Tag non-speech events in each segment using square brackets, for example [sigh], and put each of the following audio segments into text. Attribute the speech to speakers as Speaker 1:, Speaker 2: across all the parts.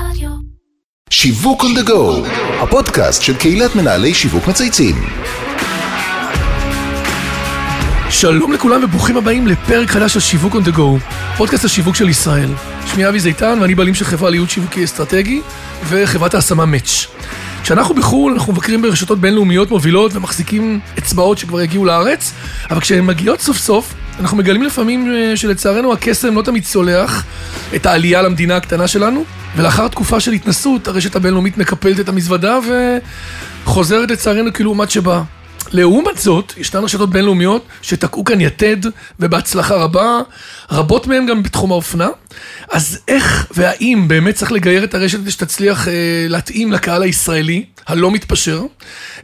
Speaker 1: רדיו.
Speaker 2: שיווק on the go, הפודקאסט של קהילת מנהלי שיווק מצייצים.
Speaker 3: שלום לכולם וברוכים הבאים לפרק חדש של שיווק on the go, פודקאסט השיווק של ישראל. שמי אבי זיתן ואני בעלים של חברה לייעוד שיווקי אסטרטגי וחברת ההשמה מאץ'. כשאנחנו בחו"ל אנחנו מבקרים ברשתות בינלאומיות מובילות ומחזיקים אצבעות שכבר הגיעו לארץ, אבל כשהן מגיעות סוף סוף, אנחנו מגלים לפעמים אה, שלצערנו הקסם לא תמיד צולח את העלייה למדינה הקטנה שלנו, ולאחר תקופה של התנסות הרשת הבינלאומית מקפלת את המזוודה וחוזרת לצערנו כלעומת שבאה. לעומת זאת, ישנן רשתות בינלאומיות שתקעו כאן יתד, ובהצלחה רבה, רבות מהן גם בתחום האופנה. אז איך והאם באמת צריך לגייר את הרשת כדי שתצליח אה, להתאים לקהל הישראלי, הלא מתפשר?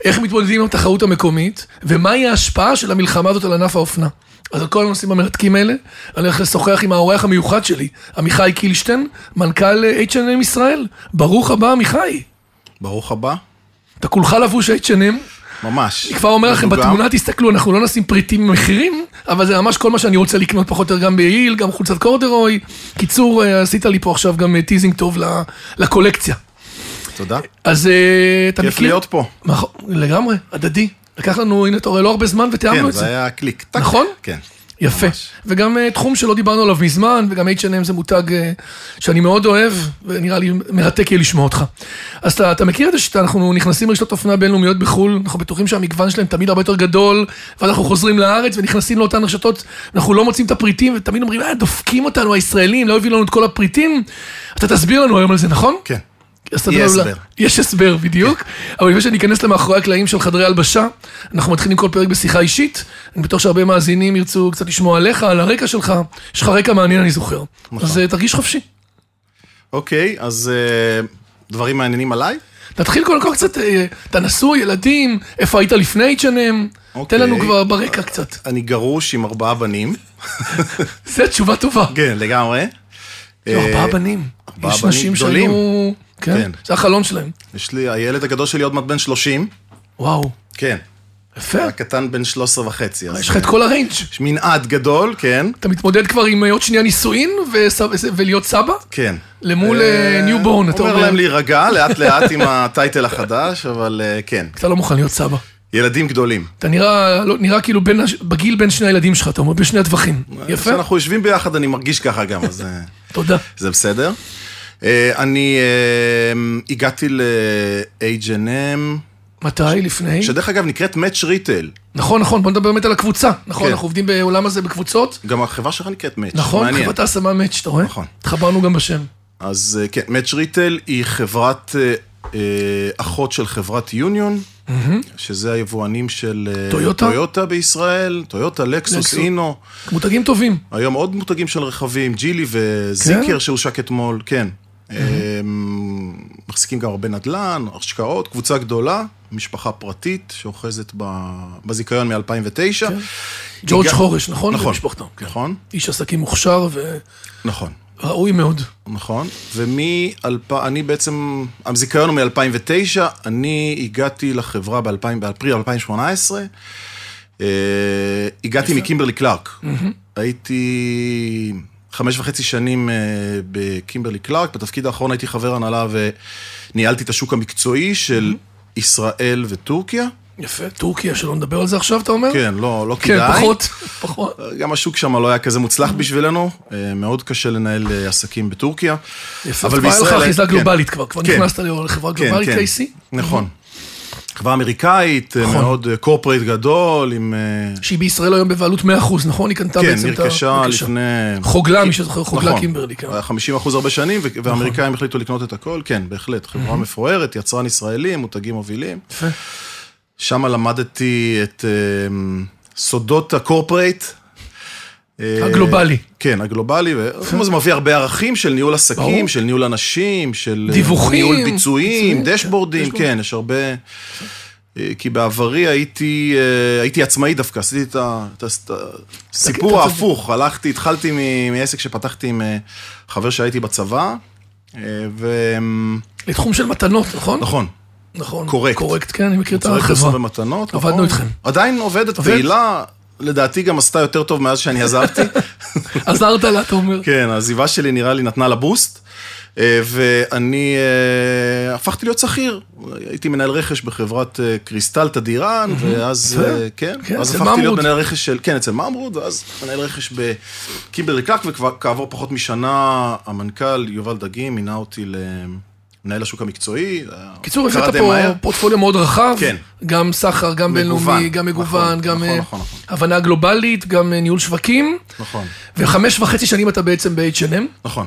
Speaker 3: איך מתמודדים עם התחרות המקומית? ומהי ההשפעה של המלחמה הזאת על ענף האופנה? אז על כל הנושאים המרתקים האלה, אני הולך לשוחח עם האורח המיוחד שלי, עמיחי קילשטיין, מנכ"ל אה, H&M ישראל. ברוך הבא, עמיחי.
Speaker 4: ברוך הבא,
Speaker 3: אתה כולך לבוש H&M,
Speaker 4: ממש.
Speaker 3: אני כבר אומר לכם,
Speaker 4: מבוגר.
Speaker 3: בתמונה תסתכלו, אנחנו לא נשים פריטים במחירים, אבל זה ממש כל מה שאני רוצה לקנות פחות או יותר, גם ביעיל, גם חולצת קורדרוי. קיצור, אה, עשית לי פה עכשיו גם אה, טיזינג טוב ל- לקולקציה.
Speaker 4: תודה.
Speaker 3: אז אה, אתה מכיר...
Speaker 4: כיף להיות פה.
Speaker 3: נכון, לגמרי, הדדי. לקח לנו, הנה אתה רואה, לא הרבה זמן ותיאמנו
Speaker 4: כן,
Speaker 3: את
Speaker 4: זה
Speaker 3: זה.
Speaker 4: היה קליק. טק.
Speaker 3: נכון?
Speaker 4: כן.
Speaker 3: יפה.
Speaker 4: ממש.
Speaker 3: וגם אה, תחום שלא דיברנו עליו מזמן, וגם H&M זה מותג אה, שאני מאוד אוהב, ונראה לי מרתק יהיה לשמוע אותך. אז אתה, אתה מכיר את זה שאנחנו נכנסים לרשתות אופנה בינלאומיות בחו"ל, אנחנו בטוחים שהמגוון שלהם תמיד הרבה יותר גדול, ואנחנו חוזרים לארץ ונכנסים לאותן רשתות, אנחנו לא מוצאים את הפריטים, ותמיד אומרים, אה, דופקים אותנו הישראלים, לא הביאו לנו את כל הפריטים. אתה תסביר לנו היום על זה, נכון?
Speaker 4: כן.
Speaker 3: אז אתה
Speaker 4: יהיה
Speaker 3: יודע,
Speaker 4: הסבר.
Speaker 3: יש הסבר בדיוק, אבל לפני שאני אכנס למאחורי הקלעים של חדרי הלבשה, אנחנו מתחילים כל פרק בשיחה אישית, אני בטוח שהרבה מאזינים ירצו קצת לשמוע עליך, על הרקע שלך, יש לך רקע מעניין אני זוכר,
Speaker 4: נכון.
Speaker 3: אז אה, תרגיש חופשי.
Speaker 4: אוקיי, אז אה, דברים מעניינים עליי?
Speaker 3: נתחיל קודם כל קצת, אה, אתה נשוי, ילדים, איפה היית לפני H&M,
Speaker 4: אוקיי.
Speaker 3: תן לנו כבר ברקע קצת.
Speaker 4: אני גרוש עם ארבעה בנים.
Speaker 3: זו תשובה טובה.
Speaker 4: כן, לגמרי.
Speaker 3: יו, ארבעה
Speaker 4: אה,
Speaker 3: בנים.
Speaker 4: ארבעה
Speaker 3: יש
Speaker 4: בנים
Speaker 3: נשים
Speaker 4: גדולים.
Speaker 3: שהיו... כן,
Speaker 4: כן.
Speaker 3: זה החלום שלהם.
Speaker 4: יש לי, הילד הגדול שלי עוד מעט בן 30.
Speaker 3: וואו,
Speaker 4: כן.
Speaker 3: יפה.
Speaker 4: הקטן בן 13 וחצי. אז
Speaker 3: יש לך את כל הריינג'.
Speaker 4: יש מנעד גדול, כן.
Speaker 3: אתה מתמודד כבר עם אה, עוד שנייה נישואין וס- ולהיות סבא?
Speaker 4: כן.
Speaker 3: למול ניובורן, אתה
Speaker 4: אה, אומר
Speaker 3: אומר,
Speaker 4: להם להירגע לאט לאט עם הטייטל החדש, אבל אה, כן.
Speaker 3: אתה לא מוכן להיות סבא.
Speaker 4: ילדים גדולים.
Speaker 3: אתה נראה, לא, נראה כאילו בין, הש- בגיל בין שני הילדים שלך, אתה אומר, בשני הטווחים. יפה,
Speaker 4: כשאנחנו יושבים ביחד אני מרגיש ככה גם, אז... אה,
Speaker 3: תודה.
Speaker 4: זה בסדר. אה, אני אה, הגעתי ל-H&M,
Speaker 3: מתי? לפני?
Speaker 4: שדרך אגב נקראת Match Retail.
Speaker 3: נכון, נכון, בוא נדבר באמת על הקבוצה. נכון,
Speaker 4: כן.
Speaker 3: אנחנו עובדים בעולם הזה בקבוצות.
Speaker 4: גם החברה שלך נקראת Match,
Speaker 3: נכון,
Speaker 4: מעניין.
Speaker 3: חברת ההשמה מאץ', אתה רואה?
Speaker 4: נכון.
Speaker 3: התחברנו גם בשם.
Speaker 4: אז אה, כן, Match Retail היא חברת אה, אה, אחות של חברת יוניון, שזה היבואנים של אה,
Speaker 3: טויוטה?
Speaker 4: טויוטה בישראל, טויוטה, לקסוס,
Speaker 3: לקסוס.
Speaker 4: אינו,
Speaker 3: מותגים טובים.
Speaker 4: היום עוד מותגים של רכבים, ג'ילי וזיקר שהושק אתמול, כן. אה, מחזיקים גם הרבה נדל"ן, השקעות, קבוצה גדולה, משפחה פרטית שאוחזת ב- בזיכיון מ-2009.
Speaker 3: ג'ורג'
Speaker 4: הגע-
Speaker 3: חורש, נכון?
Speaker 4: נכון,
Speaker 3: ומשפחתו. כן.
Speaker 4: נכון,
Speaker 3: איש עסקים מוכשר
Speaker 4: נכון,
Speaker 3: וראוי מאוד.
Speaker 4: נכון. ומ-2000, אני בעצם, הזיכיון הוא מ-2009, אני הגעתי לחברה ב-2000 באפריל 2018, אה, הגעתי מקימברלי קלארק. הייתי חמש וחצי שנים אה, בקימברלי קלארק, בתפקיד האחרון הייתי חבר הנהלה וניהלתי את השוק המקצועי של ישראל וטורקיה.
Speaker 3: יפה, טורקיה, שלא נדבר על זה עכשיו, אתה אומר?
Speaker 4: כן, לא, לא
Speaker 3: כן,
Speaker 4: כדאי.
Speaker 3: פחות, פחות.
Speaker 4: גם השוק שם לא היה כזה מוצלח בשבילנו, אה, מאוד קשה לנהל אה, עסקים בטורקיה.
Speaker 3: יפה, אבל בישראל... היה לך אחיזה
Speaker 4: כן.
Speaker 3: גלובלית כבר, כבר
Speaker 4: כן.
Speaker 3: נכנסת לחברה גלובלית, קייסי?
Speaker 4: נכון. חברה אמריקאית, אה, מאוד אה, קורפרייט גדול, עם... אה,
Speaker 3: שהיא בישראל היום בבעלות 100%, נכון? היא קנתה
Speaker 4: כן,
Speaker 3: בעצם את ה...
Speaker 4: נרכשה לפני...
Speaker 3: חוגלה, מי שזוכר, חוגלה
Speaker 4: נכון.
Speaker 3: קימברלי, כן. נכון.
Speaker 4: היה 50 אחוז הרבה שנים, ו- והאמריקאים החליטו לקנות את הכל, כן, בהחלט. חברה מפוארת, יצרן ישראלי, מותגים מובילים.
Speaker 3: יפה.
Speaker 4: שם למדתי את אה, סודות הקורפרייט. אה,
Speaker 3: הגלובלי.
Speaker 4: כן, הגלובלי, וזה מביא הרבה ערכים של ניהול
Speaker 3: ברור.
Speaker 4: עסקים, של ניהול אנשים, של אה,
Speaker 3: דיווחים,
Speaker 4: ניהול
Speaker 3: ביצועים,
Speaker 4: ביצועים,
Speaker 3: כן,
Speaker 4: דשבורדים,
Speaker 3: דשבורדים.
Speaker 4: כן, יש הרבה... אה, כי בעברי הייתי, אה, הייתי עצמאי דווקא, עשיתי את ה- את הס- את
Speaker 3: אתה-
Speaker 4: הסיפור
Speaker 3: אתה-
Speaker 4: ההפוך, הלכתי, התחלתי מ- מעסק שפתחתי עם אה, חבר שהייתי בצבא, אה, ו...
Speaker 3: לתחום של מתנות, נכון?
Speaker 4: נכון,
Speaker 3: נכון.
Speaker 4: קורקט.
Speaker 3: קורקט, כן, אני מכיר את
Speaker 4: צורך פרסום
Speaker 3: החברה.
Speaker 4: ומתנות,
Speaker 3: עבדנו
Speaker 4: נכון?
Speaker 3: איתכם.
Speaker 4: עדיין עובדת
Speaker 3: עובד?
Speaker 4: פעילה, לדעתי גם עשתה יותר
Speaker 3: [laughs]
Speaker 4: טוב מאז שאני עזבתי.
Speaker 3: עזרת לה, אתה אומר.
Speaker 4: כן, העזיבה שלי נראה לי נתנה לה בוסט. אה, ואני אה, הפכתי להיות שכיר. הייתי מנהל רכש בחברת אה, קריסטל תדירן, ואז,
Speaker 3: יפה.
Speaker 4: אה, כן,
Speaker 3: כן,
Speaker 4: אז
Speaker 3: אצל
Speaker 4: הפכתי להיות
Speaker 3: ממרוד.
Speaker 4: מנהל רכש של, כן, אצל ממרוד, ואז מנהל רכש בקימברלי קלאק, וכעבור פחות משנה, המנכ"ל יובל דגים מינה אותי למנהל השוק המקצועי.
Speaker 3: קיצור,
Speaker 4: קרה
Speaker 3: הבאת
Speaker 4: די
Speaker 3: פה
Speaker 4: מהר.
Speaker 3: פורטפוליו מאוד רחב,
Speaker 4: כן.
Speaker 3: גם סחר, גם בינלאומי, גם מגוון,
Speaker 4: נכון,
Speaker 3: גם
Speaker 4: נכון,
Speaker 3: אה,
Speaker 4: נכון, נכון.
Speaker 3: הבנה גלובלית, גם אה, ניהול שווקים,
Speaker 4: נכון,
Speaker 3: וחמש וחצי שנים אתה בעצם ב-H&M,
Speaker 4: נכון.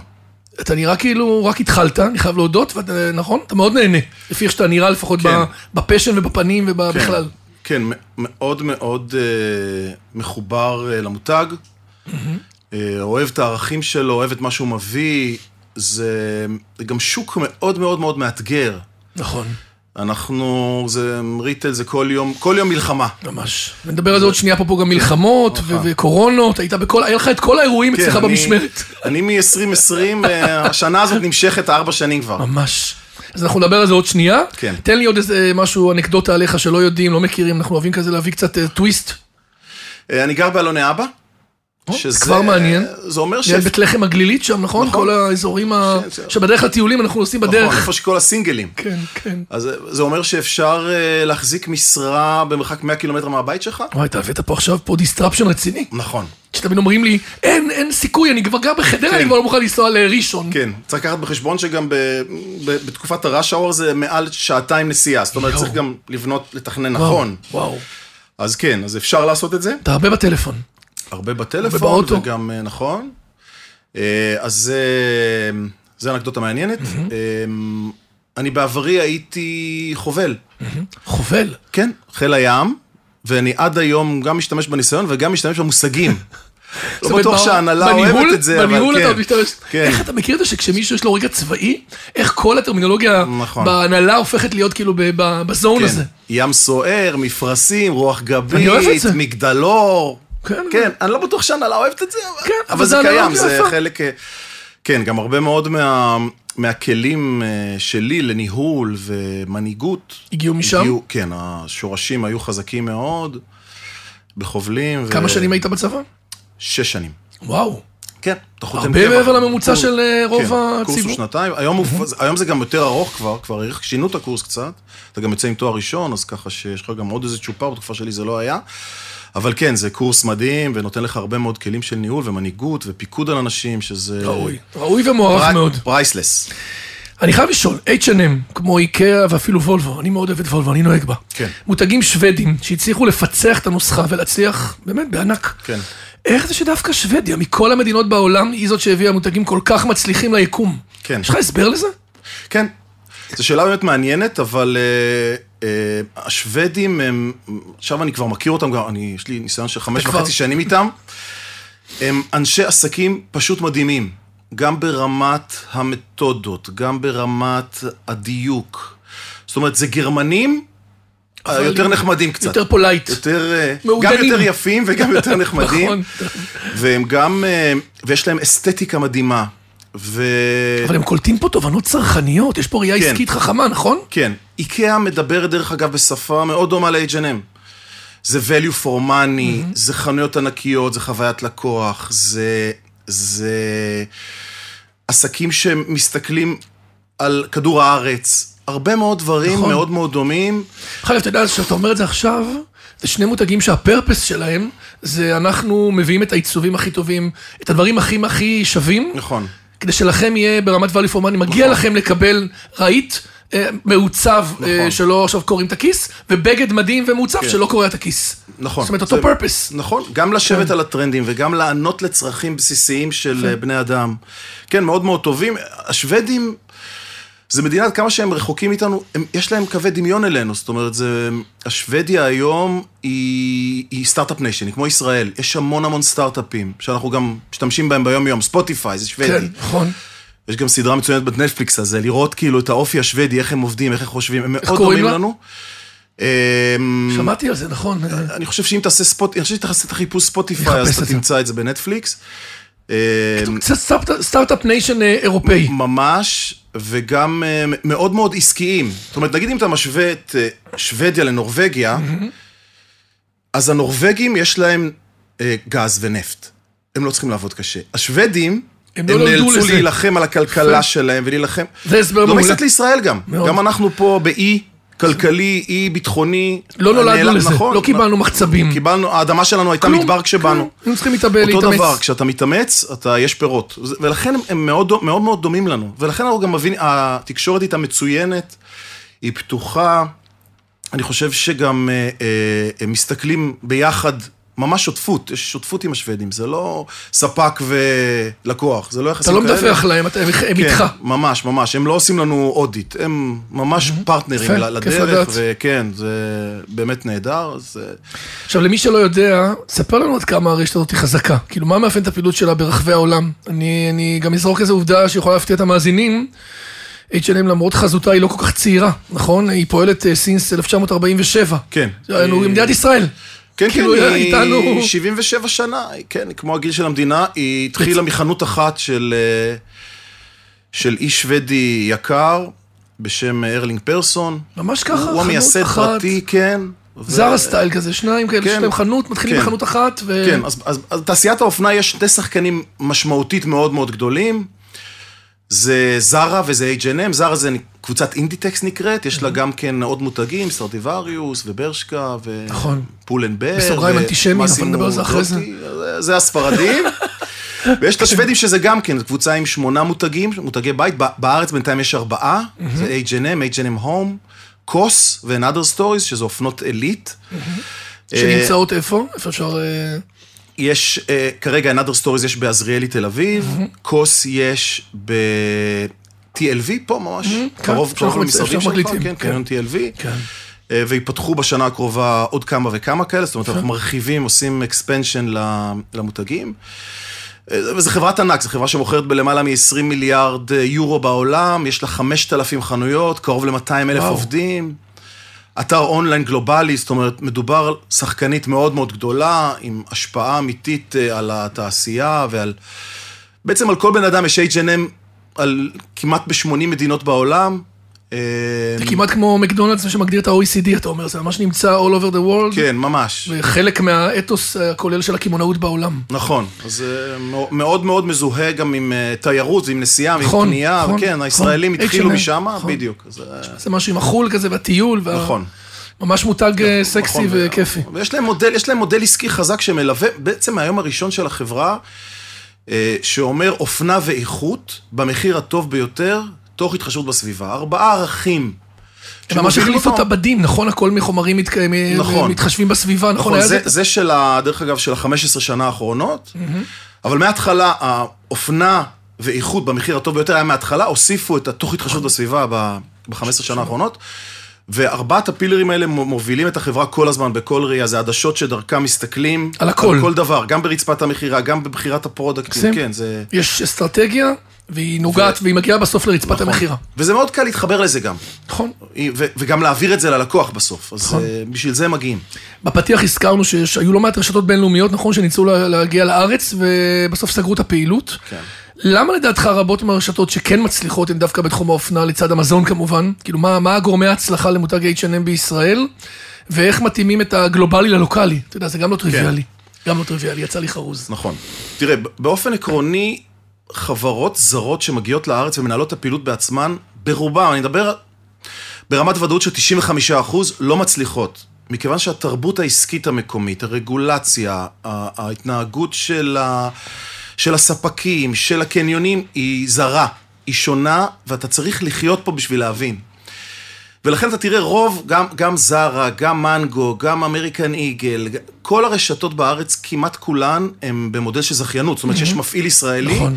Speaker 3: אתה נראה כאילו רק התחלת, אני חייב להודות, ואתה- נכון? אתה מאוד נהנה, לפי איך שאתה נראה לפחות
Speaker 4: כן.
Speaker 3: ב- בפשן ובפנים
Speaker 4: כן,
Speaker 3: ובכלל.
Speaker 4: כן, מ- מאוד מאוד אה, מחובר אה, למותג,
Speaker 3: Mm-hmm.
Speaker 4: אה, אוהב את הערכים שלו, אוהב את מה שהוא מביא, זה זה גם שוק מאוד מאוד מאוד מאתגר.
Speaker 3: נכון,
Speaker 4: אנחנו, זה ריטל, זה כל יום, כל יום מלחמה.
Speaker 3: ממש. ונדבר על זה עוד שנייה פה, פה גם מלחמות ו- וקורונות, היית בכל, היה לך את כל האירועים
Speaker 4: נכון.
Speaker 3: [laughs]
Speaker 4: כן,
Speaker 3: אצלך
Speaker 4: אני-
Speaker 3: במשמרת.
Speaker 4: [laughs] אני מ-2020, השנה הזאת נמשכת ארבע שנים כבר.
Speaker 3: אה. ממש. אז אנחנו נדבר על זה עוד שנייה.
Speaker 4: כן.
Speaker 3: תן לי עוד איזה משהו, אנקדוטה עליך שלא יודעים, לא מכירים, אנחנו אוהבים כזה להביא קצת אה, טוויסט.
Speaker 4: אה, אני גר באלוני אבא. שזה...
Speaker 3: כבר מעניין.
Speaker 4: זה אומר ש...
Speaker 3: ליד בית לחם הגלילית שם, נכון?
Speaker 4: נכון.
Speaker 3: כל האזורים ה...
Speaker 4: ש- ש-
Speaker 3: שבדרך לטיולים אנחנו נוסעים
Speaker 4: נכון,
Speaker 3: בדרך.
Speaker 4: איפה שכל הסינגלים.
Speaker 3: כן, כן.
Speaker 4: אז זה אומר שאפשר אה, להחזיק משרה במרחק 100 קילומטר מהבית שלך?
Speaker 3: וואי, אתה הבאת פה עכשיו פה דיסטרפשן רציני.
Speaker 4: נכון.
Speaker 3: שתמיד אומרים לי, אין, אין סיכוי, אני כבר גר בחדרה,
Speaker 4: כן.
Speaker 3: אני כבר לא מוכן לנסוע לראשון.
Speaker 4: כן, צריך לקחת בחשבון שגם ב, ב, בתקופת הראש האור זה מעל שעתיים נסיעה, זאת אומרת
Speaker 3: יואו.
Speaker 4: צריך גם לבנות, לתכנן
Speaker 3: וואו,
Speaker 4: נכון.
Speaker 3: וואו.
Speaker 4: אז כן, אז אפשר לעשות את זה,
Speaker 3: אתה הרבה בטלפון.
Speaker 4: הרבה בטלפון,
Speaker 3: ובאוטו.
Speaker 4: וגם אה, נכון. אה, אז זה, זה אנקדוטה מעניינת. אה, אני בעברי הייתי חובל,
Speaker 3: חובל.
Speaker 4: כן, חיל הים, ואני עד היום גם משתמש בניסיון וגם משתמש במושגים.
Speaker 3: [laughs] זאת
Speaker 4: לא
Speaker 3: אומרת,
Speaker 4: בטוח
Speaker 3: ב-
Speaker 4: שההנהלה אוהבת
Speaker 3: בניהול-
Speaker 4: את זה, אבל כן.
Speaker 3: בניהול אתה עוד משתמש.
Speaker 4: כן.
Speaker 3: איך אתה מכיר את זה שכשמישהו יש לו רגע צבאי, איך כל הטרמינולוגיה
Speaker 4: נכון.
Speaker 3: בהנהלה הופכת להיות כאילו ב- ב- בזון
Speaker 4: כן.
Speaker 3: הזה.
Speaker 4: ים סוער, מפרשים, רוח
Speaker 3: אני אוהב את
Speaker 4: גבית,
Speaker 3: זה.
Speaker 4: מגדלור.
Speaker 3: כן,
Speaker 4: כן, אני לא בטוח שהנהלה אוהבת את זה, אבל-
Speaker 3: כן, אבל
Speaker 4: אבל זה
Speaker 3: זה
Speaker 4: קיים,
Speaker 3: אנלוגיה
Speaker 4: זה
Speaker 3: יפה.
Speaker 4: חלק... אה, כן, גם הרבה מאוד מה- מהכלים אה, שלי לניהול ומנהיגות.
Speaker 3: הגיעו משם?
Speaker 4: הגיעו- כן, השורשים היו חזקים מאוד, בחובלים. ו-
Speaker 3: כמה שנים היית בצבא?
Speaker 4: שש שנים.
Speaker 3: וואו.
Speaker 4: כן, אתה חותם
Speaker 3: הרבה
Speaker 4: קבע.
Speaker 3: מעבר לממוצע
Speaker 4: קורס-
Speaker 3: של, אה, רוב
Speaker 4: כן, קורס
Speaker 3: הציבור.
Speaker 4: הוא שנתיים, היום, הוא, היום זה גם יותר ארוך כבר, כבר האריך- שינו את הקורס קצת, אתה גם יוצא עם תואר ראשון, אז ככה שיש לך גם עוד איזה צ'ופר, בתקופה שלי זה לא היה. אבל כן, זה קורס מדהים, ונותן לך הרבה מאוד כלים של ניהול ומנהיגות ופיקוד על אנשים, שזה...
Speaker 3: ראוי. ראוי ומוערך
Speaker 4: פרי-
Speaker 3: מאוד.
Speaker 4: פרייסלס.
Speaker 3: אני חייב לשאול, H&M, כמו איקאה ואפילו וולבו, אני מאוד אוהב את וולבו, אני נוהג בה.
Speaker 4: כן.
Speaker 3: מותגים שוודים שהצליחו לפצח את הנוסחה ולהצליח, באמת, בענק.
Speaker 4: כן.
Speaker 3: איך זה שדווקא שוודיה, מכל המדינות בעולם, היא זאת שהביאה מותגים כל כך מצליחים ליקום?
Speaker 4: כן.
Speaker 3: יש לך הסבר לזה?
Speaker 4: כן. זו שאלה באמת מעניינת, אבל אה, אה, השוודים הם, עכשיו אני כבר מכיר אותם, גם, אני, יש לי ניסיון של חמש
Speaker 3: אתה כבר-
Speaker 4: וחצי שנים איתם, הם אנשי עסקים פשוט מדהימים, גם ברמת המתודות, גם ברמת הדיוק. זאת אומרת, זה גרמנים אה,
Speaker 3: אבל-
Speaker 4: יותר נחמדים קצת.
Speaker 3: יותר פולייט.
Speaker 4: יותר, אה, גם
Speaker 3: מעודנים.
Speaker 4: יותר יפים וגם
Speaker 3: [laughs]
Speaker 4: יותר נחמדים.
Speaker 3: נכון.
Speaker 4: והם גם, אה, ויש להם אסתטיקה מדהימה. ו...
Speaker 3: אבל הם קולטים פה תובנות צרכניות, יש פה ראייה
Speaker 4: כן.
Speaker 3: עסקית חכמה, נכון?
Speaker 4: כן. איקאה מדברת, דרך אגב, בשפה מאוד דומה ל-H&M. זה value for money, mm-hmm. זה חנויות ענקיות, זה חוויית לקוח, זה, זה עסקים שמסתכלים על כדור הארץ. הרבה מאוד דברים
Speaker 3: נכון.
Speaker 4: נכון. מאוד מאוד דומים.
Speaker 3: אגב, אתה יודע, כשאתה אומר את זה עכשיו, זה שני מותגים שהפרפס שלהם, זה אנחנו מביאים את העיצובים הכי טובים, את הדברים הכי הכי שווים,
Speaker 4: נכון.
Speaker 3: כדי שלכם יהיה ברמת value for money, מגיע לכם לקבל רהיט. אה, מעוצב אה,
Speaker 4: נכון. כן.
Speaker 3: שלא עכשיו קוראים את הכיס, ובגד מדהים ומעוצב שלא קורע את הכיס.
Speaker 4: נכון.
Speaker 3: זאת אומרת, אותו כן.
Speaker 4: זה-
Speaker 3: פרפס.
Speaker 4: נכון, גם לשבת על הטרנדים וגם לענות לצרכים בסיסיים של אה, בני אדם. כן, מאוד מאוד טובים. השוודים, זה מדינה, כמה שהם רחוקים מאיתנו, הם, יש להם קווי דמיון אלינו. זאת אומרת, זה, השוודיה היום היא, היא סטארט-אפ ניישן, היא כמו ישראל. יש המון המון סטארט-אפים, שאנחנו גם משתמשים בהם ביום-יום. ספוטיפיי, זה שוודי.
Speaker 3: כן, נכון.
Speaker 4: Mm. יש גם סדרה מצוינת בנטפליקס הזה, לראות כאילו את האופי השוודי, איך הם עובדים, איך הם חושבים, הם מאוד
Speaker 3: קוראים
Speaker 4: דומים
Speaker 3: לה?
Speaker 4: לנו. אמ,
Speaker 3: שמעתי על זה, נכון. אה,
Speaker 4: אני חושב שאם תעשה ספוט, אני חושב שתעשה את החיפוש ספוטיפיי,
Speaker 3: נחפש
Speaker 4: אז
Speaker 3: את
Speaker 4: אתה
Speaker 3: זה.
Speaker 4: תמצא את זה בנטפליקס. אה,
Speaker 3: קצת סטארט- סטארט-אפ ניישן אה, אירופאי.
Speaker 4: ממש, וגם אה, מאוד מאוד עסקיים. זאת אומרת, נגיד אם אתה משווה את אה, שוודיה לנורבגיה,
Speaker 3: Mm-hmm.
Speaker 4: אז הנורבגים יש להם אה, גז ונפט. הם לא צריכים לעבוד קשה. השוודים,
Speaker 3: הם לא
Speaker 4: הם
Speaker 3: נולדו
Speaker 4: נאלצו
Speaker 3: לזה.
Speaker 4: להילחם על הכלכלה שלהם ולהילחם.
Speaker 3: זה הסבר
Speaker 4: דומה
Speaker 3: מעולה.
Speaker 4: קצת לישראל גם.
Speaker 3: מאוד.
Speaker 4: גם אנחנו פה באי כלכלי, אי ביטחוני.
Speaker 3: לא נולדנו
Speaker 4: נעלם-
Speaker 3: לזה,
Speaker 4: נכון,
Speaker 3: לא קיבלנו מחצבים.
Speaker 4: קיבלנו, האדמה שלנו הייתה
Speaker 3: כלום,
Speaker 4: מדבר כשבאנו.
Speaker 3: כלום. היינו צריכים להתאבל, להתאמץ.
Speaker 4: אותו דבר, כשאתה מתאמץ, אתה, יש פירות. זה- ולכן הם, הם מאוד, דו- מאוד מאוד דומים לנו. ולכן אנחנו גם מבינים, התקשורת איתה מצוינת, היא פתוחה. אני חושב שגם אה, אה, הם מסתכלים ביחד, ממש שותפות, יש שותפות עם השוודים, זה לא ספק ולקוח, זה לא
Speaker 3: אתה
Speaker 4: יחסים
Speaker 3: לא
Speaker 4: כאלה.
Speaker 3: מדווח להם, אתה- הם הם איתך.
Speaker 4: כן, ממש, ממש. הם לא עושים לנו אודיט, הם ממש פרטנרים
Speaker 3: Mm-hmm. יפה,
Speaker 4: ל-
Speaker 3: כיף
Speaker 4: לדרך,
Speaker 3: לדעת.
Speaker 4: וכן, זה באמת נהדר. זה...
Speaker 3: עכשיו, למי שלא יודע, ספר לנו עד כמה הרשת הזאת היא חזקה. כאילו, מה מאפיין את הפעילות שלה ברחבי העולם? אני, אני גם אזרוק איזו עובדה שיכולה להפתיע את המאזינים. H&M למרות חזותה היא לא כל כך צעירה, נכון? היא פועלת סינס 1947.
Speaker 4: כן.
Speaker 3: היינו
Speaker 4: היא-
Speaker 3: מדינת ישראל.
Speaker 4: כן,
Speaker 3: כאילו,
Speaker 4: כן,
Speaker 3: היא איתנו-
Speaker 4: 77 שנה, היא- כן, כמו הגיל של המדינה, היא התחילה מחנות אחת של, אה, של איש שוודי יקר, בשם ארלינג פרסון.
Speaker 3: ממש ככה,
Speaker 4: הוא
Speaker 3: חנות
Speaker 4: המייסד
Speaker 3: אחת.
Speaker 4: פרטי, כן. ו-
Speaker 3: זרה סטייל כזה, שניים כאלה,
Speaker 4: כן.
Speaker 3: יש להם חנות, מתחילים
Speaker 4: כן.
Speaker 3: בחנות אחת, ו...
Speaker 4: כן, אז, אז, אז תעשיית האופנה יש שני שחקנים משמעותית מאוד מאוד גדולים. זה זרה וזה H&M, זרה זה קבוצת אינדיטקס נקראת, יש לה גם כן עוד מותגים, סרטיבריוס וברשקה ו...
Speaker 3: נכון.
Speaker 4: פולנבר.
Speaker 3: בסוגריים
Speaker 4: ו-
Speaker 3: אנטישמים, אבל
Speaker 4: מסימו
Speaker 3: נדבר על זה אחרי זה.
Speaker 4: דוטי, זה- זה הספרדים. [laughs] ויש את השוודים שזה גם כן, זו קבוצה עם שמונה מותגים, מותגי בית, ב- בארץ בינתיים יש ארבעה, זה H&M, H&M Home, קוס ו-Another Stories, שזה אופנות עילית. אה,
Speaker 3: שנמצאות איפה? איפה אפשר... אה,
Speaker 4: יש, אה, כרגע another stories יש בעזריאלי תל אביב, כוס יש ב... TLV פה ממש, קרוב
Speaker 3: כן,
Speaker 4: קרוב
Speaker 3: שאנחנו
Speaker 4: למשרדים
Speaker 3: מצ-
Speaker 4: שלך,
Speaker 3: שאנחנו
Speaker 4: כן,
Speaker 3: מקליטים,
Speaker 4: קניון TLV,
Speaker 3: כן.
Speaker 4: אה, ויפתחו בשנה הקרובה עוד כמה וכמה כאלה, זאת אומרת, אנחנו מרחיבים, עושים expansion ל- למותגים. אה, וזו חברת ענק, זו חברה שמוכרת בלמעלה מ-20 מיליארד אה, יורו בעולם, יש לה 5,000 חנויות, קרוב ל-200 אלף
Speaker 3: וואו.
Speaker 4: עובדים. אתר אונליין גלובלי, זאת אומרת, מדובר על שחקנית מאוד מאוד גדולה, עם השפעה אמיתית אה, על התעשייה ועל... בעצם על כל בן אדם יש H&M על כמעט ב-80 מדינות בעולם. אה,
Speaker 3: זה כמעט כמו מקדונלדס, מה שמגדיר את ה-OECD, אתה אומר, זה ממש נמצא all over the world.
Speaker 4: כן, ממש.
Speaker 3: וחלק מהאתוס הכולל של הקמעונאות בעולם.
Speaker 4: נכון, אז אה, מאו- מאוד מאוד מזוהה גם עם אה, תיירות, עם נסיעה, עם
Speaker 3: נכון,
Speaker 4: קנייה,
Speaker 3: נכון,
Speaker 4: כן,
Speaker 3: נכון.
Speaker 4: הישראלים התחילו
Speaker 3: H&M,
Speaker 4: משם,
Speaker 3: נכון. אה,
Speaker 4: בדיוק. אז, אה,
Speaker 3: זה משהו עם החול כזה והטיול. וה-
Speaker 4: נכון.
Speaker 3: ממש מותג אה, סקסי
Speaker 4: נכון, ו-
Speaker 3: וכיפי.
Speaker 4: ויש להם מודל, יש להם מודל עסקי חזק שמלווה בעצם מהיום הראשון של החברה, אה, שאומר אופנה ואיכות במחיר הטוב ביותר, תוך התחשבות בסביבה. ארבעה ערכים.
Speaker 3: הם ממש
Speaker 4: שמובילים
Speaker 3: החליפו את
Speaker 4: אותם.
Speaker 3: הבדים, נכון? הכל מחומרים מתק- מ-
Speaker 4: נכון.
Speaker 3: מתחשבים בסביבה, נכון?
Speaker 4: נכון,
Speaker 3: היה
Speaker 4: זה, זה של, ה, דרך אגב, של ה-15 שנה האחרונות, אבל מההתחלה, האופנה ואיכות במחיר הטוב ביותר היה מההתחלה, הוסיפו את התוך התחשבות
Speaker 3: נכון.
Speaker 4: בסביבה ב-15 שנה האחרונות, וארבעת הפילרים האלה מו- מובילים את החברה כל הזמן, בכל ראייה, זה עדשות שדרכם מסתכלים.
Speaker 3: על הכל.
Speaker 4: על כל דבר, גם ברצפת המכירה, גם בבחירת הפרודקטים,
Speaker 3: מקסים.
Speaker 4: כן, זה...
Speaker 3: יש אסטרטגיה, והיא נוגעת, והיא מגיעה בסוף לרצפת
Speaker 4: נכון.
Speaker 3: המכירה.
Speaker 4: וזה מאוד קל להתחבר לזה גם,
Speaker 3: נכון.
Speaker 4: ו- וגם להעביר את זה ללקוח בסוף, אז אה, בשביל זה מגיעים.
Speaker 3: בפתיח הזכרנו שהיו לא מעט רשתות בינלאומיות, נכון, שניסו לה- להגיע לארץ, ובסוף סגרו את הפעילות.
Speaker 4: כן.
Speaker 3: למה לדעתך רבות מהרשתות שכן מצליחות הן דווקא בתחום האופנה, לצד המזון כמובן? כאילו, מה, מה גורמי ההצלחה למותג H&M בישראל, ואיך מתאימים את הגלובלי ללוקאלי? אתה יודע, זה
Speaker 4: כן.
Speaker 3: גם לא טריוויאלי. גם לא טריוויאלי, יצא לי חרוז.
Speaker 4: נכון. תראה, ב- באופן עקרוני, חברות זרות שמגיעות לארץ ומנהלות את הפעילות בעצמן, ברובם, אני מדבר ברמת ודאות של 95% לא מצליחות. מכיוון שהתרבות העסקית המקומית, הרגולציה, ה- ההתנהגות של, ה... של הספקים, של הקניונים, היא זרה, היא שונה, ואתה צריך לחיות פה בשביל להבין. ולכן אתה תראה רוב, גם, גם זרה, גם מנגו, גם אמריקן איגל, כל הרשתות בארץ, כמעט כולן, הן במודל של זכיינות. זאת אומרת שיש מפעיל ישראלי,
Speaker 3: נכון.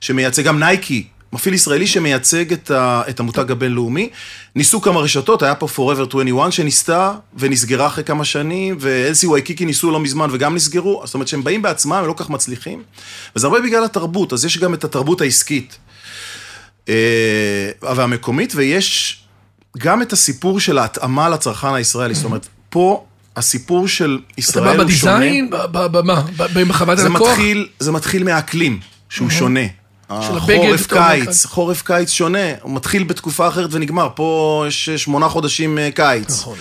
Speaker 4: שמייצג, גם נייקי, מפעיל ישראלי שמייצג את, ה, את המותג הבינלאומי. ניסו כמה רשתות, היה פה Forever 21 שניסתה, ונסגרה אחרי כמה שנים, ואלסי וויקיקי ניסו לא מזמן וגם נסגרו. זאת אומרת שהם באים בעצמם, הם לא כל כך מצליחים. וזה הרבה בגלל התרבות, אז יש גם את התרבות העסקית. אה, והמקומית, ויש גם את הסיפור של ההתאמה לצרכן הישראלי. זאת אומרת, פה הסיפור של
Speaker 3: אתה בא
Speaker 4: ישראל הוא שונה.
Speaker 3: בדיזיין? ב- ב- במה? ב- בחוות
Speaker 4: זה
Speaker 3: הלקוח?
Speaker 4: מתחיל, זה מתחיל מהאקלים, שהוא שונה.
Speaker 3: הבגד,
Speaker 4: החורף
Speaker 3: אתה אומר
Speaker 4: קיץ, חורף קיץ שונה, הוא מתחיל בתקופה אחרת ונגמר, פה יש שמונה חודשים אה, קיץ.
Speaker 3: נכון.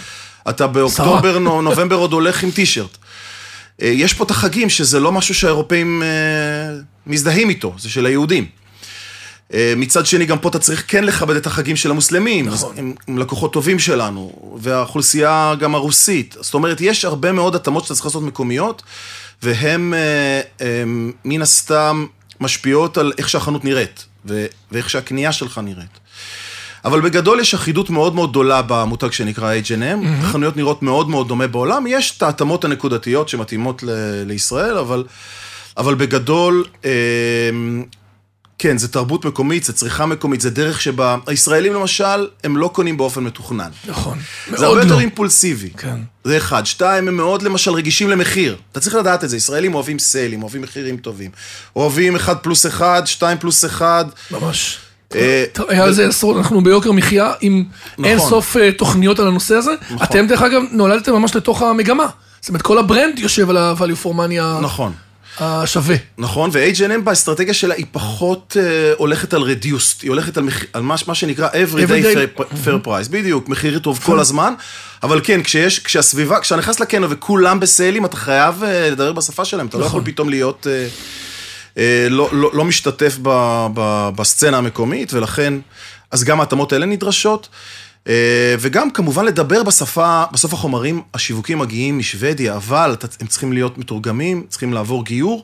Speaker 4: אתה באוקטובר,
Speaker 3: שרה.
Speaker 4: נו- נובמבר עוד הולך עם טישרט. אה, אה, יש פה את החגים, שזה לא משהו שהאירופאים אה, מזדהים איתו, זה של היהודים. אה, מצד שני, גם פה אתה צריך כן לכבד את החגים של המוסלמים. נכון. הם, הם לקוחות טובים שלנו, והאוכלוסייה גם הרוסית. זאת אומרת, יש הרבה מאוד התאמות שאתה צריך לעשות מקומיות, והן אה, אה, מן הסתם משפיעות על איך שהחנות נראית, ו- ואיך שהקנייה שלך נראית. אבל בגדול יש אחידות מאוד מאוד גדולה במותג שנקרא H&M, mm-hmm. החנויות נראות מאוד מאוד דומה בעולם, יש את ההתאמות הנקודתיות שמתאימות ל- לישראל, אבל, אבל בגדול, אה, כן, זה תרבות מקומית, זה צריכה מקומית, זה דרך שבה... הישראלים למשל, הם לא קונים באופן מתוכנן.
Speaker 3: נכון.
Speaker 4: זה הרבה
Speaker 3: מאוד
Speaker 4: יותר
Speaker 3: לא.
Speaker 4: אימפולסיבי.
Speaker 3: כן.
Speaker 4: זה אחד. שתיים, הם מאוד למשל רגישים למחיר. אתה צריך לדעת את זה, ישראלים אוהבים סיילים, אוהבים מחירים טובים. אוהבים אחד פלוס אחד, שתיים פלוס אחד.
Speaker 3: ממש.
Speaker 4: אה,
Speaker 3: טוב, היה על זה עשרות, אנחנו ביוקר מחיה עם
Speaker 4: נכון.
Speaker 3: אין סוף אה, תוכניות על הנושא הזה. אתם דרך אגב נולדתם ממש לתוך המגמה. זאת אומרת, כל הברנד יושב על ה-value for money ה-
Speaker 4: נכון.
Speaker 3: השווה.
Speaker 4: נכון, ו-H&M באסטרטגיה שלה היא פחות אה, הולכת על reduced, היא הולכת על, מח... על מה, ש- מה שנקרא everyday
Speaker 3: Everyday.
Speaker 4: fair, fair price, בדיוק, מחיר טוב כל הזמן, אבל כן, כשיש, כשהסביבה, כשאתה נכנס לקניון וכולם בסיילים, אתה חייב אה, לדבר בשפה שלהם, אתה לא יכול פתאום להיות אה, אה, לא, לא, לא משתתף ב, ב, בסצנה המקומית, ולכן, אז גם ההתאמות האלה נדרשות. אה, וגם כמובן לדבר בשפה, בסוף החומרים השיווקים מגיעים משוודיה, אבל אתה- הם צריכים להיות מתורגמים, צריכים לעבור גיור,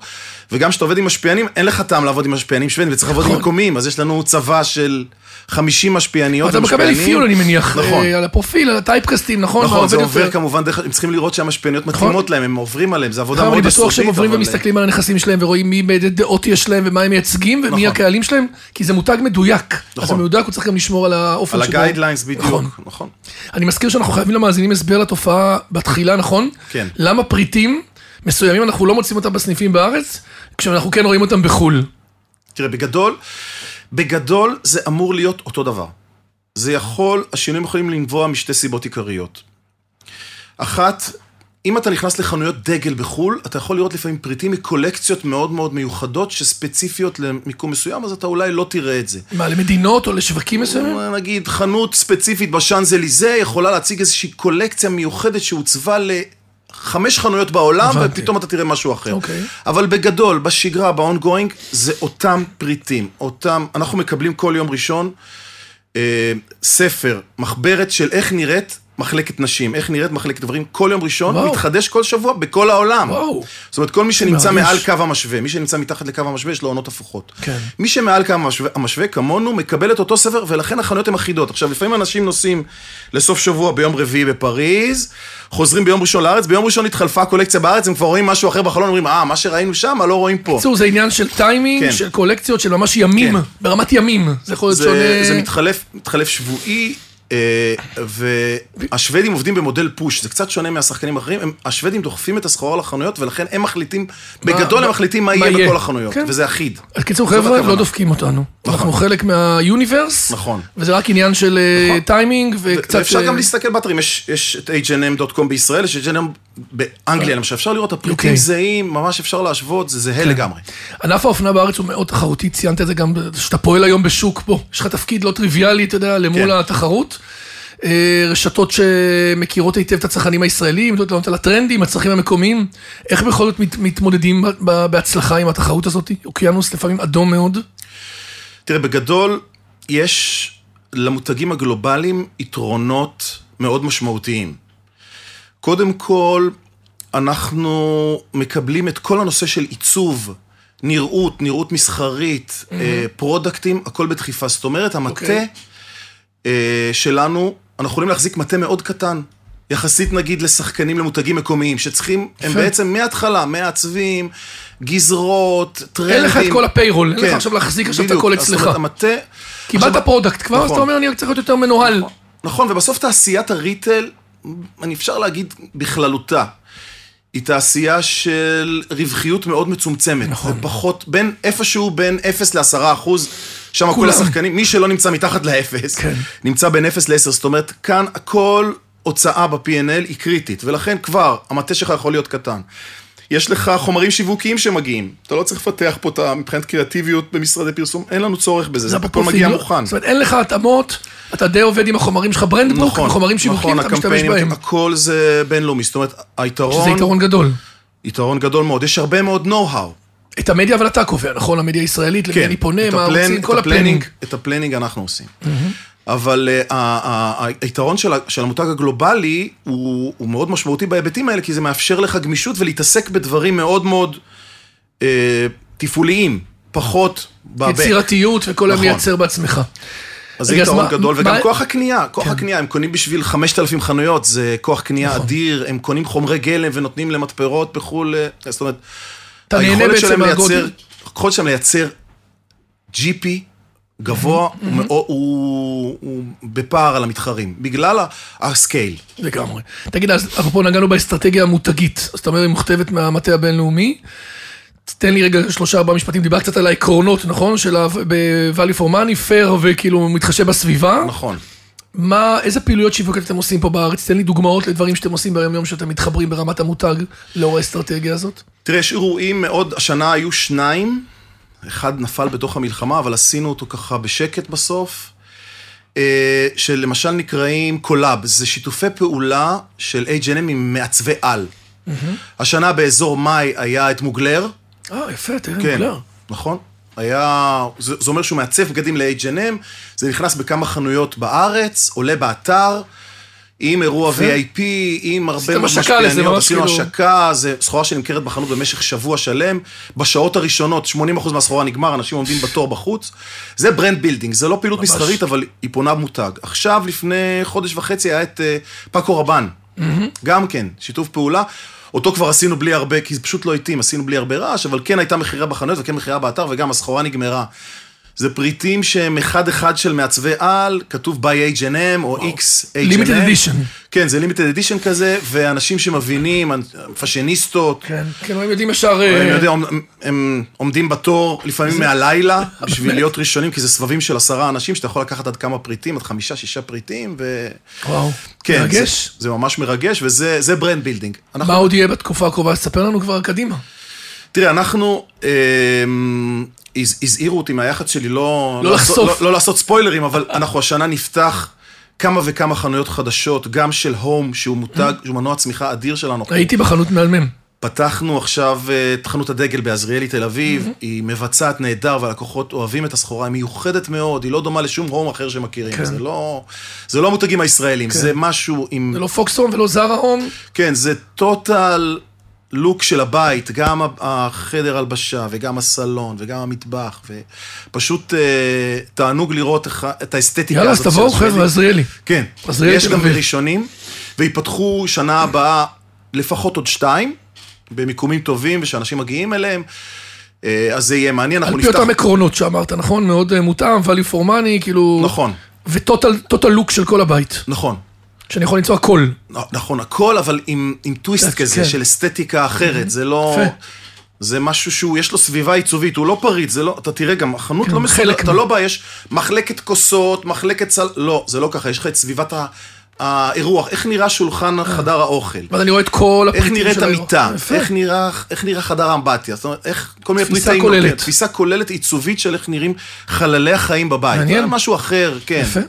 Speaker 4: וגם כשאתה עובד עם משפיענים, אין לך טעם לעבוד עם משפיענים שוודים, וצריך לעבוד עם
Speaker 3: נכון.
Speaker 4: מקומיים, אז יש לנו צבא של 50 משפיעניות
Speaker 3: אתה מקבל
Speaker 4: ומשפיענים.
Speaker 3: אפיון, אני מניח,
Speaker 4: לא, נכון.
Speaker 3: אה, על הפרופיל, על הטייפקסטים, נכון? מה
Speaker 4: נכון, זה
Speaker 3: עובד
Speaker 4: עובר
Speaker 3: יותר.
Speaker 4: כמובן דרך, הם צריכים לראות שהמשפיעניות מתאימות להם, הם עוברים עליהם, זו עבודה
Speaker 3: אבל
Speaker 4: מאוד
Speaker 3: נכון, אני
Speaker 4: יסודית.
Speaker 3: בטוח שהם עוברים
Speaker 4: אבל-
Speaker 3: ומסתכלים על הנכסים שלהם ורואים מי באיזה דעות יש להם ומה הם מייצגים ומי
Speaker 4: נכון.
Speaker 3: הקהלים שלהם, כי זה מותג מדויק. אז
Speaker 4: נכון.
Speaker 3: המדויק הוא צריך גם לשמור על האופן
Speaker 4: אה, על
Speaker 3: שבו...
Speaker 4: הגיידליינס בדיוק,
Speaker 3: נכון.
Speaker 4: נכון.
Speaker 3: אני מזכיר שאנחנו חייבים למאזינים הסבר לתופעה בתחילה, נכון?
Speaker 4: כן.
Speaker 3: למה פריטים מסוימים אנחנו לא מוצאים אותם בסניפים בארץ, כשאנחנו כן רואים אותם בחו"ל.
Speaker 4: תראה, בגדול, בגדול זה אמור להיות אותו דבר. זה יכול, השינויים יכולים לנבוע משתי סיבות עיקריות. אחת, אם אתה נכנס לחנויות דגל בחו"ל, אתה יכול לראות לפעמים פריטים מקולקציות מאוד מאוד מיוחדות, שספציפיות למיקום מסוים, אז אתה אולי לא תראה את זה.
Speaker 3: מה, למדינות או לשווקים מסוימים?
Speaker 4: נגיד, חנות ספציפית בשאנז אליזה יכולה להציג איזושהי קולקציה מיוחדת שהוצבה לחמש חנויות בעולם,
Speaker 3: הבנתי.
Speaker 4: ופתאום אתה תראה משהו אחר.
Speaker 3: אוקיי.
Speaker 4: אבל בגדול, בשגרה, ב-ongoing, זה אותם פריטים, אותם, אנחנו מקבלים כל יום ראשון אה, ספר, מחברת של איך נראית מחלקת נשים, איך נראית מחלקת גברים, כל יום ראשון,
Speaker 3: וואו.
Speaker 4: מתחדש כל שבוע בכל העולם.
Speaker 3: וואו.
Speaker 4: זאת אומרת, כל מי שנמצא
Speaker 3: מרגש.
Speaker 4: מעל קו המשווה, מי שנמצא מתחת לקו המשווה, יש לו עונות הפוכות.
Speaker 3: כן.
Speaker 4: מי שמעל קו המשווה, המשווה כמונו, מקבל את אותו ספר, ולכן החנויות הן אחידות. עכשיו, לפעמים אנשים נוסעים לסוף שבוע ביום רביעי בפריז, חוזרים ביום ראשון לארץ, ביום ראשון התחלפה הקולקציה בארץ, הם כבר רואים משהו אחר בחלון, אומרים, אה, מה שראינו שם, לא רואים פה.
Speaker 3: בקיצור, זה עניין של טיימינג,
Speaker 4: כן.
Speaker 3: של קולקציות, של ממש ימים,
Speaker 4: כן.
Speaker 3: ברמת ימים. זה יכול להיות
Speaker 4: זה, זה
Speaker 3: שונה...
Speaker 4: מתחלף, מתחלף שבועי, אה, והשוודים עובדים במודל פוש, זה קצת שונה מהשחקנים האחרים, הם, השוודים דוחפים את הסחורה לחנויות, ולכן הם מחליטים, בגדול
Speaker 3: מה-
Speaker 4: הם מחליטים מה
Speaker 3: מה
Speaker 4: יהיה
Speaker 3: יהיה.
Speaker 4: בכל החנויות,
Speaker 3: כן.
Speaker 4: וזה אחיד.
Speaker 3: אז קיצור,
Speaker 4: זאת
Speaker 3: חבר'ה,
Speaker 4: הכוונה.
Speaker 3: לא דופקים אותנו. אנחנו חלק מהיוניברס,
Speaker 4: נכון.
Speaker 3: וזה רק עניין של אה, טיימינג וקצת...
Speaker 4: ואפשר
Speaker 3: אה,
Speaker 4: גם להסתכל באתרים, יש, יש את hnm.com בישראל, יש hnm באנגליה, למשל, אפשר לראות הפריטים
Speaker 3: אה, אוקיי. כן.
Speaker 4: זהים, ממש אפשר להשוות, זה זהה לגמרי.
Speaker 3: ענף האופנה בארץ הוא מאוד תחרותי, ציינת את זה גם, שאתה פועל היום בשוק פה, יש לך תפקיד לא טריוויאלי, אתה יודע, למול
Speaker 4: כן.
Speaker 3: התחרות. אה, רשתות שמכירות היטב את הצרכנים הישראלים, יודעות לענות על הטרנדים, הצרכים המקומיים. איך בכל זאת מת, מתמודדים ב- ב- בהצלחה עם התחרות הזאת? אוקיינוס לפעמים אדום מאוד.
Speaker 4: תראה, בגדול, יש למותגים הגלובליים יתרונות מאוד משמעותיים. קודם כל, אנחנו מקבלים את כל הנושא של עיצוב, נראות, נראות מסחרית, אה, פרודקטים, הכל בדחיפה. זאת אומרת, המטה
Speaker 3: אוקיי.
Speaker 4: אה, שלנו, אנחנו יכולים להחזיק מטה מאוד קטן. יחסית נגיד לשחקנים למותגים מקומיים, שצריכים, הם
Speaker 3: יפה.
Speaker 4: בעצם מההתחלה, מעצבים, גזרות, טרנדים.
Speaker 3: אין לך את כל הפיירול, אין לך
Speaker 4: כן.
Speaker 3: עכשיו להחזיק עכשיו את
Speaker 4: בדיוק.
Speaker 3: הכל
Speaker 4: אז זאת
Speaker 3: אצלך.
Speaker 4: אומרת, המטה...
Speaker 3: קיבלת
Speaker 4: עכשיו-
Speaker 3: פרודקט כבר, אז
Speaker 4: נכון.
Speaker 3: אתה אומר, אני צריך להיות יותר מנוהל.
Speaker 4: נכון, ובסוף תעשיית הריטל, אני אפשר להגיד בכללותה, היא תעשייה של רווחיות מאוד מצומצמת.
Speaker 3: נכון.
Speaker 4: זה פחות, בין, איפשהו בין 0 ל-10 אחוז, שם
Speaker 3: כולם.
Speaker 4: כל השחקנים, מי שלא נמצא מתחת ל-0,
Speaker 3: כן.
Speaker 4: נמצא בין 0 ל-10, זאת אומרת, כאן הכל הוצאה ב-P&L היא קריטית, ולכן כבר המטה שלך יכול להיות קטן. יש לך חומרים שיווקיים שמגיעים, אתה לא צריך לפתח פה את ה... מבחינת קריאטיביות במשרדי פרסום, אין לנו צורך בזה, זה הכל מגיע
Speaker 3: הפרופיל. לא-
Speaker 4: מוכן.
Speaker 3: זאת אומרת, אין לך התאמות, אתה די עובד עם החומרים שלך, ברנדבוק, חומרים שיווקיים, אתה משתמש
Speaker 4: נכון, הקמפיינים,
Speaker 3: בהם.
Speaker 4: הכל זה בינלאומי, זאת אומרת, היתרון...
Speaker 3: שזה יתרון גדול.
Speaker 4: יתרון גדול מאוד. יש הרבה מאוד know-how.
Speaker 3: את המדיה אבל אתה קובע, נכון? המדיה הישראלית, למי אני פונה,
Speaker 4: כן. את
Speaker 3: מה
Speaker 4: הפלן-
Speaker 3: רוצים,
Speaker 4: את
Speaker 3: כל הפלנינג. Mm-hmm.
Speaker 4: את הפלנינג אנחנו עושים. אבל אה, ה- ה- ה- היתרון של ה- של המותג הגלובלי הוא הוא מאוד משמעותי בהיבטים האלה, כי זה מאפשר לך גמישות ולהתעסק בדברים מאוד מאוד אה, תפעוליים, פחות בבק.
Speaker 3: יצירתיות וכל היום
Speaker 4: נכון.
Speaker 3: לייצר בעצמך.
Speaker 4: אז זה
Speaker 3: רגע, אז
Speaker 4: יתרון
Speaker 3: מה-
Speaker 4: גדול,
Speaker 3: מה- כן.
Speaker 4: וגם כוח הקנייה, כוח הקנייה, הם קונים בשביל 5,000 חנויות, זה כוח קנייה
Speaker 3: נכון.
Speaker 4: אדיר, הם קונים חומרי גלם ונותנים למתפרות בחו"ל, אה, זאת אומרת,
Speaker 3: אתה נהנה
Speaker 4: היכולת
Speaker 3: בעצם
Speaker 4: שלהם לייצר,
Speaker 3: מהגודל.
Speaker 4: היכולת שלהם לייצר GP גבוה,
Speaker 3: Mm-hmm.
Speaker 4: הוא מאוד- הוא הוא בפער על המתחרים, בגלל ה- הסקייל.
Speaker 3: לגמרי. תגיד, אז אפרופו נגענו באסטרטגיה המותגית, אז אתה אומר, היא מוכתבת מהמטה הבינלאומי. תן לי רגע שלושה ארבעה משפטים, דיברת קצת על העקרונות, נכון? של ה-value for money, fair וכאילו מתחשב בסביבה.
Speaker 4: נכון.
Speaker 3: מה, איזה פעילויות שיווקיות אתם עושים פה בארץ? תן לי דוגמאות לדברים שאתם עושים ביום יום שאתם מתחברים ברמת המותג לאור האסטרטגיה הזאת.
Speaker 4: תראה, יש אירועים מאוד, השנה היו שניים, אחד נפל בתוך המלחמה, אבל עשינו אותו ככה בשקט בסוף, אה, שלמשל נקראים קולאב, זה שיתופי פעולה של H&M עם מעצבי על. השנה באזור מאי היה את מוגלר,
Speaker 3: אה, יפה, תראה,
Speaker 4: כן,
Speaker 3: מוגלר.
Speaker 4: נכון. היה, זה, זה אומר שהוא מעצב בגדים ל-H&M, זה נכנס בכמה חנויות בארץ, עולה באתר, עם אירוע VIP, עם הרבה
Speaker 3: עשיתם
Speaker 4: מאוד
Speaker 3: השקה
Speaker 4: משפיעניות,
Speaker 3: לזה, ממש
Speaker 4: עשינו
Speaker 3: כאילו-
Speaker 4: השקה, זה סחורה שנמכרת בחנות במשך שבוע שלם, בשעות הראשונות 80% מהסחורה נגמר, אנשים עומדים בתור בחוץ. זה ברנד בילדינג, זה לא פעילות מסחרית, אבל היא פונה מותג. עכשיו, לפני חודש וחצי היה את אה, פאקו רבן, גם כן, שיתוף פעולה. אותו כבר עשינו בלי הרבה, כי זה פשוט לא התאים, עשינו בלי הרבה רעש, אבל כן הייתה מכירה בחנויות וכן מכירה באתר, וגם הסחורה נגמרה. זה פריטים שהם אחד-אחד של מעצבי על, כתוב by H&M או X H&M.
Speaker 3: Limited edition.
Speaker 4: כן, זה limited edition כזה, ואנשים שמבינים, פאשיניסטות,
Speaker 3: כן, כן, הם יודעים ישר...
Speaker 4: הם,
Speaker 3: אה,
Speaker 4: יודע, הם, הם עומדים בתור לפעמים מהלילה
Speaker 3: [laughs]
Speaker 4: בשביל להיות ראשונים, כי זה סבבים של עשרה אנשים, שאתה יכול לקחת עד כמה פריטים, עד חמישה, שישה פריטים, ו...
Speaker 3: וואו,
Speaker 4: כן,
Speaker 3: מרגש.
Speaker 4: זה, זה ממש מרגש, וזה זה ברנד בילדינג.
Speaker 3: מה עוד יהיה בתקופה הקרובה? אז תספר לנו כבר קדימה.
Speaker 4: תראה, אנחנו, אמ, הז- הזהירו אותי מהיחס שלי לא...
Speaker 3: לא
Speaker 4: לעשות-
Speaker 3: לחשוף.
Speaker 4: לא, לא לעשות ספוילרים, אבל אנחנו השנה נפתח כמה וכמה חנויות חדשות, גם של הום, שהוא מותג, שהוא מנוע צמיחה אדיר שלנו.
Speaker 3: הייתי בחנות מהמם.
Speaker 4: פתחנו עכשיו אה, את חנות הדגל בעזריאלי תל אביב,
Speaker 3: Mm-hmm.
Speaker 4: היא מבצעת נהדר והלקוחות אוהבים את הסחורה, היא מיוחדת מאוד, היא לא דומה לשום הום אחר שמכירים.
Speaker 3: כן.
Speaker 4: זה לא זה לא המותגים הישראלים, זה משהו עם...
Speaker 3: זה לא פוקסטרום ולא זרה הום.
Speaker 4: כן, זה טוטל לוק של הבית, גם ה- החדר הלבשה וגם הסלון וגם המטבח, ופשוט אה, תענוג לראות איך ה- את האסתטיקה
Speaker 3: יאללה, אז
Speaker 4: הזאת. של
Speaker 3: תבואו
Speaker 4: השוודים.
Speaker 3: חבר'ה, עזריאלי.
Speaker 4: כן,
Speaker 3: אז ראיתי
Speaker 4: יש גם
Speaker 3: בבית.
Speaker 4: ראשונים, ויפתחו שנה הבאה לפחות עוד שתיים, במיקומים טובים ושאנשים מגיעים אליהם, אה, אז זה יהיה מעניין, אנחנו
Speaker 3: על פי
Speaker 4: נפתח...
Speaker 3: אותם עקרונות שאמרת, נכון? מאוד אה, מותאם, value for money, כאילו...
Speaker 4: נכון,
Speaker 3: וטוטל לוק של כל הבית.
Speaker 4: נכון.
Speaker 3: שאני יכול למצוא הכל.
Speaker 4: נ- נכון, הכל, אבל עם, עם טוויסט
Speaker 3: קצת,
Speaker 4: כזה
Speaker 3: כן.
Speaker 4: של אסתטיקה אחרת, זה לא...
Speaker 3: יפה.
Speaker 4: זה משהו שהוא, יש לו סביבה עיצובית, הוא לא פריט, זה לא, אתה תראה גם, החנות לא מסודרת,
Speaker 3: כן, חלק
Speaker 4: אתה
Speaker 3: מה-
Speaker 4: לא בא, יש מחלקת כוסות, מחלקת סל... לא, זה לא ככה, יש לך את סביבת ה- האירוח, איך נראה שולחן חדר האוכל,
Speaker 3: ואז אני רואה את כל
Speaker 4: איך
Speaker 3: אה. הפריטים
Speaker 4: נראית
Speaker 3: של האירוע.
Speaker 4: המיטה,
Speaker 3: יפה.
Speaker 4: איך נראה- איך נראה חדר האמבטיה, זאת אומרת, איך כל מיני
Speaker 3: תפיסה
Speaker 4: פריטים,
Speaker 3: כוללת.
Speaker 4: כן, תפיסה כוללת עיצובית של איך נראים חללי החיים בבית,
Speaker 3: מעניין.
Speaker 4: זה משהו אחר, כן.
Speaker 3: יפה.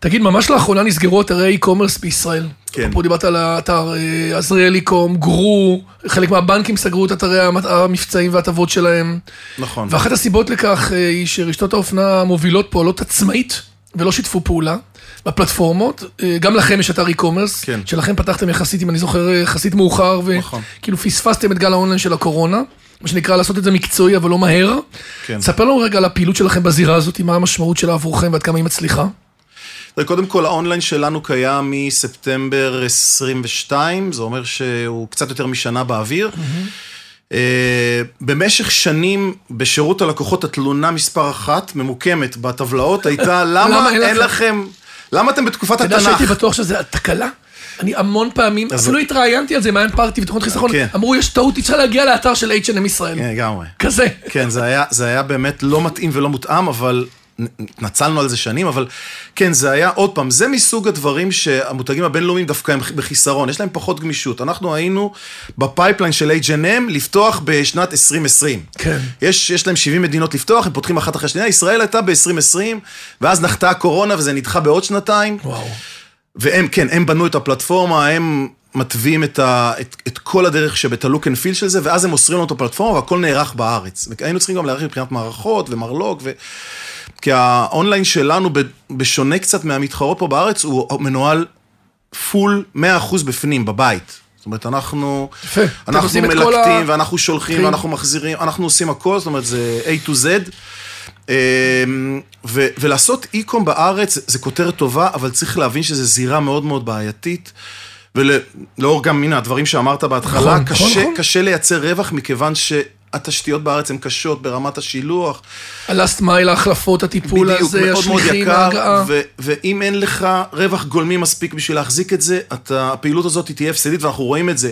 Speaker 3: תגיד, ממש לאחרונה נסגרו אתרי e-commerce בישראל.
Speaker 4: כן.
Speaker 3: פה דיברת על האתר אה, עזריאלי קום, גרו, חלק מהבנקים סגרו את אתרי המת- המבצעים וההטבות שלהם.
Speaker 4: נכון.
Speaker 3: ואחת הסיבות לכך אה, היא שרשתות האופנה המובילות פועלות עצמאית ולא שיתפו פעולה בפלטפורמות. אה, גם לכם יש אתר e-commerce,
Speaker 4: כן.
Speaker 3: שלכם פתחתם יחסית, אם אני זוכר, אה, יחסית מאוחר,
Speaker 4: נכון.
Speaker 3: וכאילו פספסתם את גל האונליין של הקורונה, מה שנקרא לעשות את זה מקצועי אבל לא מהר.
Speaker 4: כן.
Speaker 3: ספר לנו רגע על הפעילות שלכם בזירה הזאת, מה המשמעות שלה עבורכם ועד כמה היא מצליחה.
Speaker 4: תראה, קודם כל, האונליין שלנו קיים מספטמבר 22, זה אומר שהוא קצת יותר משנה באוויר.
Speaker 3: Mm-hmm.
Speaker 4: אה, במשך שנים בשירות הלקוחות התלונה מספר אחת ממוקמת
Speaker 3: [laughs]
Speaker 4: בטבלאות הייתה למה
Speaker 3: אין
Speaker 4: אין
Speaker 3: לכם?"
Speaker 4: לכם, למה אתם בתקופת
Speaker 3: אתה יודע
Speaker 4: התנ"ך?
Speaker 3: שהייתי בטוח שזה תקלה? אני המון פעמים,
Speaker 4: אז-
Speaker 3: אפילו התראיינתי על זה מעיין פארטי ותוכנית חיסכון,
Speaker 4: כן.
Speaker 3: אמרו יש טעות, אי אפשר להגיע לאתר של H&M ישראל.
Speaker 4: כן, לגמרי.
Speaker 3: כזה.
Speaker 4: כן, זה היה, זה היה באמת לא מתאים ולא מותאם, אבל נ- התנצלנו על זה שנים, אבל כן, זה היה, עוד פעם, זה מסוג הדברים שהמותגים הבינלאומיים דווקא הם בחיסרון, יש להם פחות גמישות. אנחנו היינו בפייפליין של H&M לפתוח בשנת 2020.
Speaker 3: כן.
Speaker 4: יש, יש להם 70 מדינות לפתוח, הם פותחים אחת אחרי השנייה, ישראל הייתה ב-2020, ואז נחתה הקורונה וזה נדחה בעוד שנתיים.
Speaker 3: וואו.
Speaker 4: והם, כן, הם בנו את הפלטפורמה, הם מתווים את, ה, את, את כל הדרך שאת הלוק אנד פיל של זה, ואז הם מוסרים לנו את הפלטפורמה והכל נערך בארץ. היינו צריכים גם להערך מבחינת מערכות ומרלוג, ו... כי האונליין שלנו, ב- בשונה קצת מהמתחרות פה בארץ, הוא מנוהל פול 100% בפנים, בבית. זאת אומרת, אנחנו,
Speaker 3: יפה. אתם
Speaker 4: אנחנו
Speaker 3: עושים את כל
Speaker 4: מלקטים,
Speaker 3: ה-
Speaker 4: ואנחנו שולחים,
Speaker 3: אחי.
Speaker 4: ואנחנו מחזירים, אנחנו עושים הכל, זאת אומרת, זה A to Z. אמ, ו- ולעשות אי-קום בארץ זה כותרת טובה, אבל צריך להבין שזו זירה מאוד מאוד בעייתית. ולאור גם, הנה, הדברים שאמרת בהתחלה,
Speaker 3: נכון,
Speaker 4: קשה,
Speaker 3: נכון.
Speaker 4: קשה לייצר רווח מכיוון שהתשתיות בארץ הן קשות ברמת השילוח.
Speaker 3: הלאסט מייל, ההחלפות, הטיפול הזה,
Speaker 4: בדיוק, מאוד מאוד
Speaker 3: השליחים,
Speaker 4: יקר,
Speaker 3: ההגעה.
Speaker 4: ו- ואם אין לך רווח גולמי מספיק בשביל להחזיק את זה, אתה, הפעילות הזאת תהיה הפסדית, ואנחנו רואים את זה.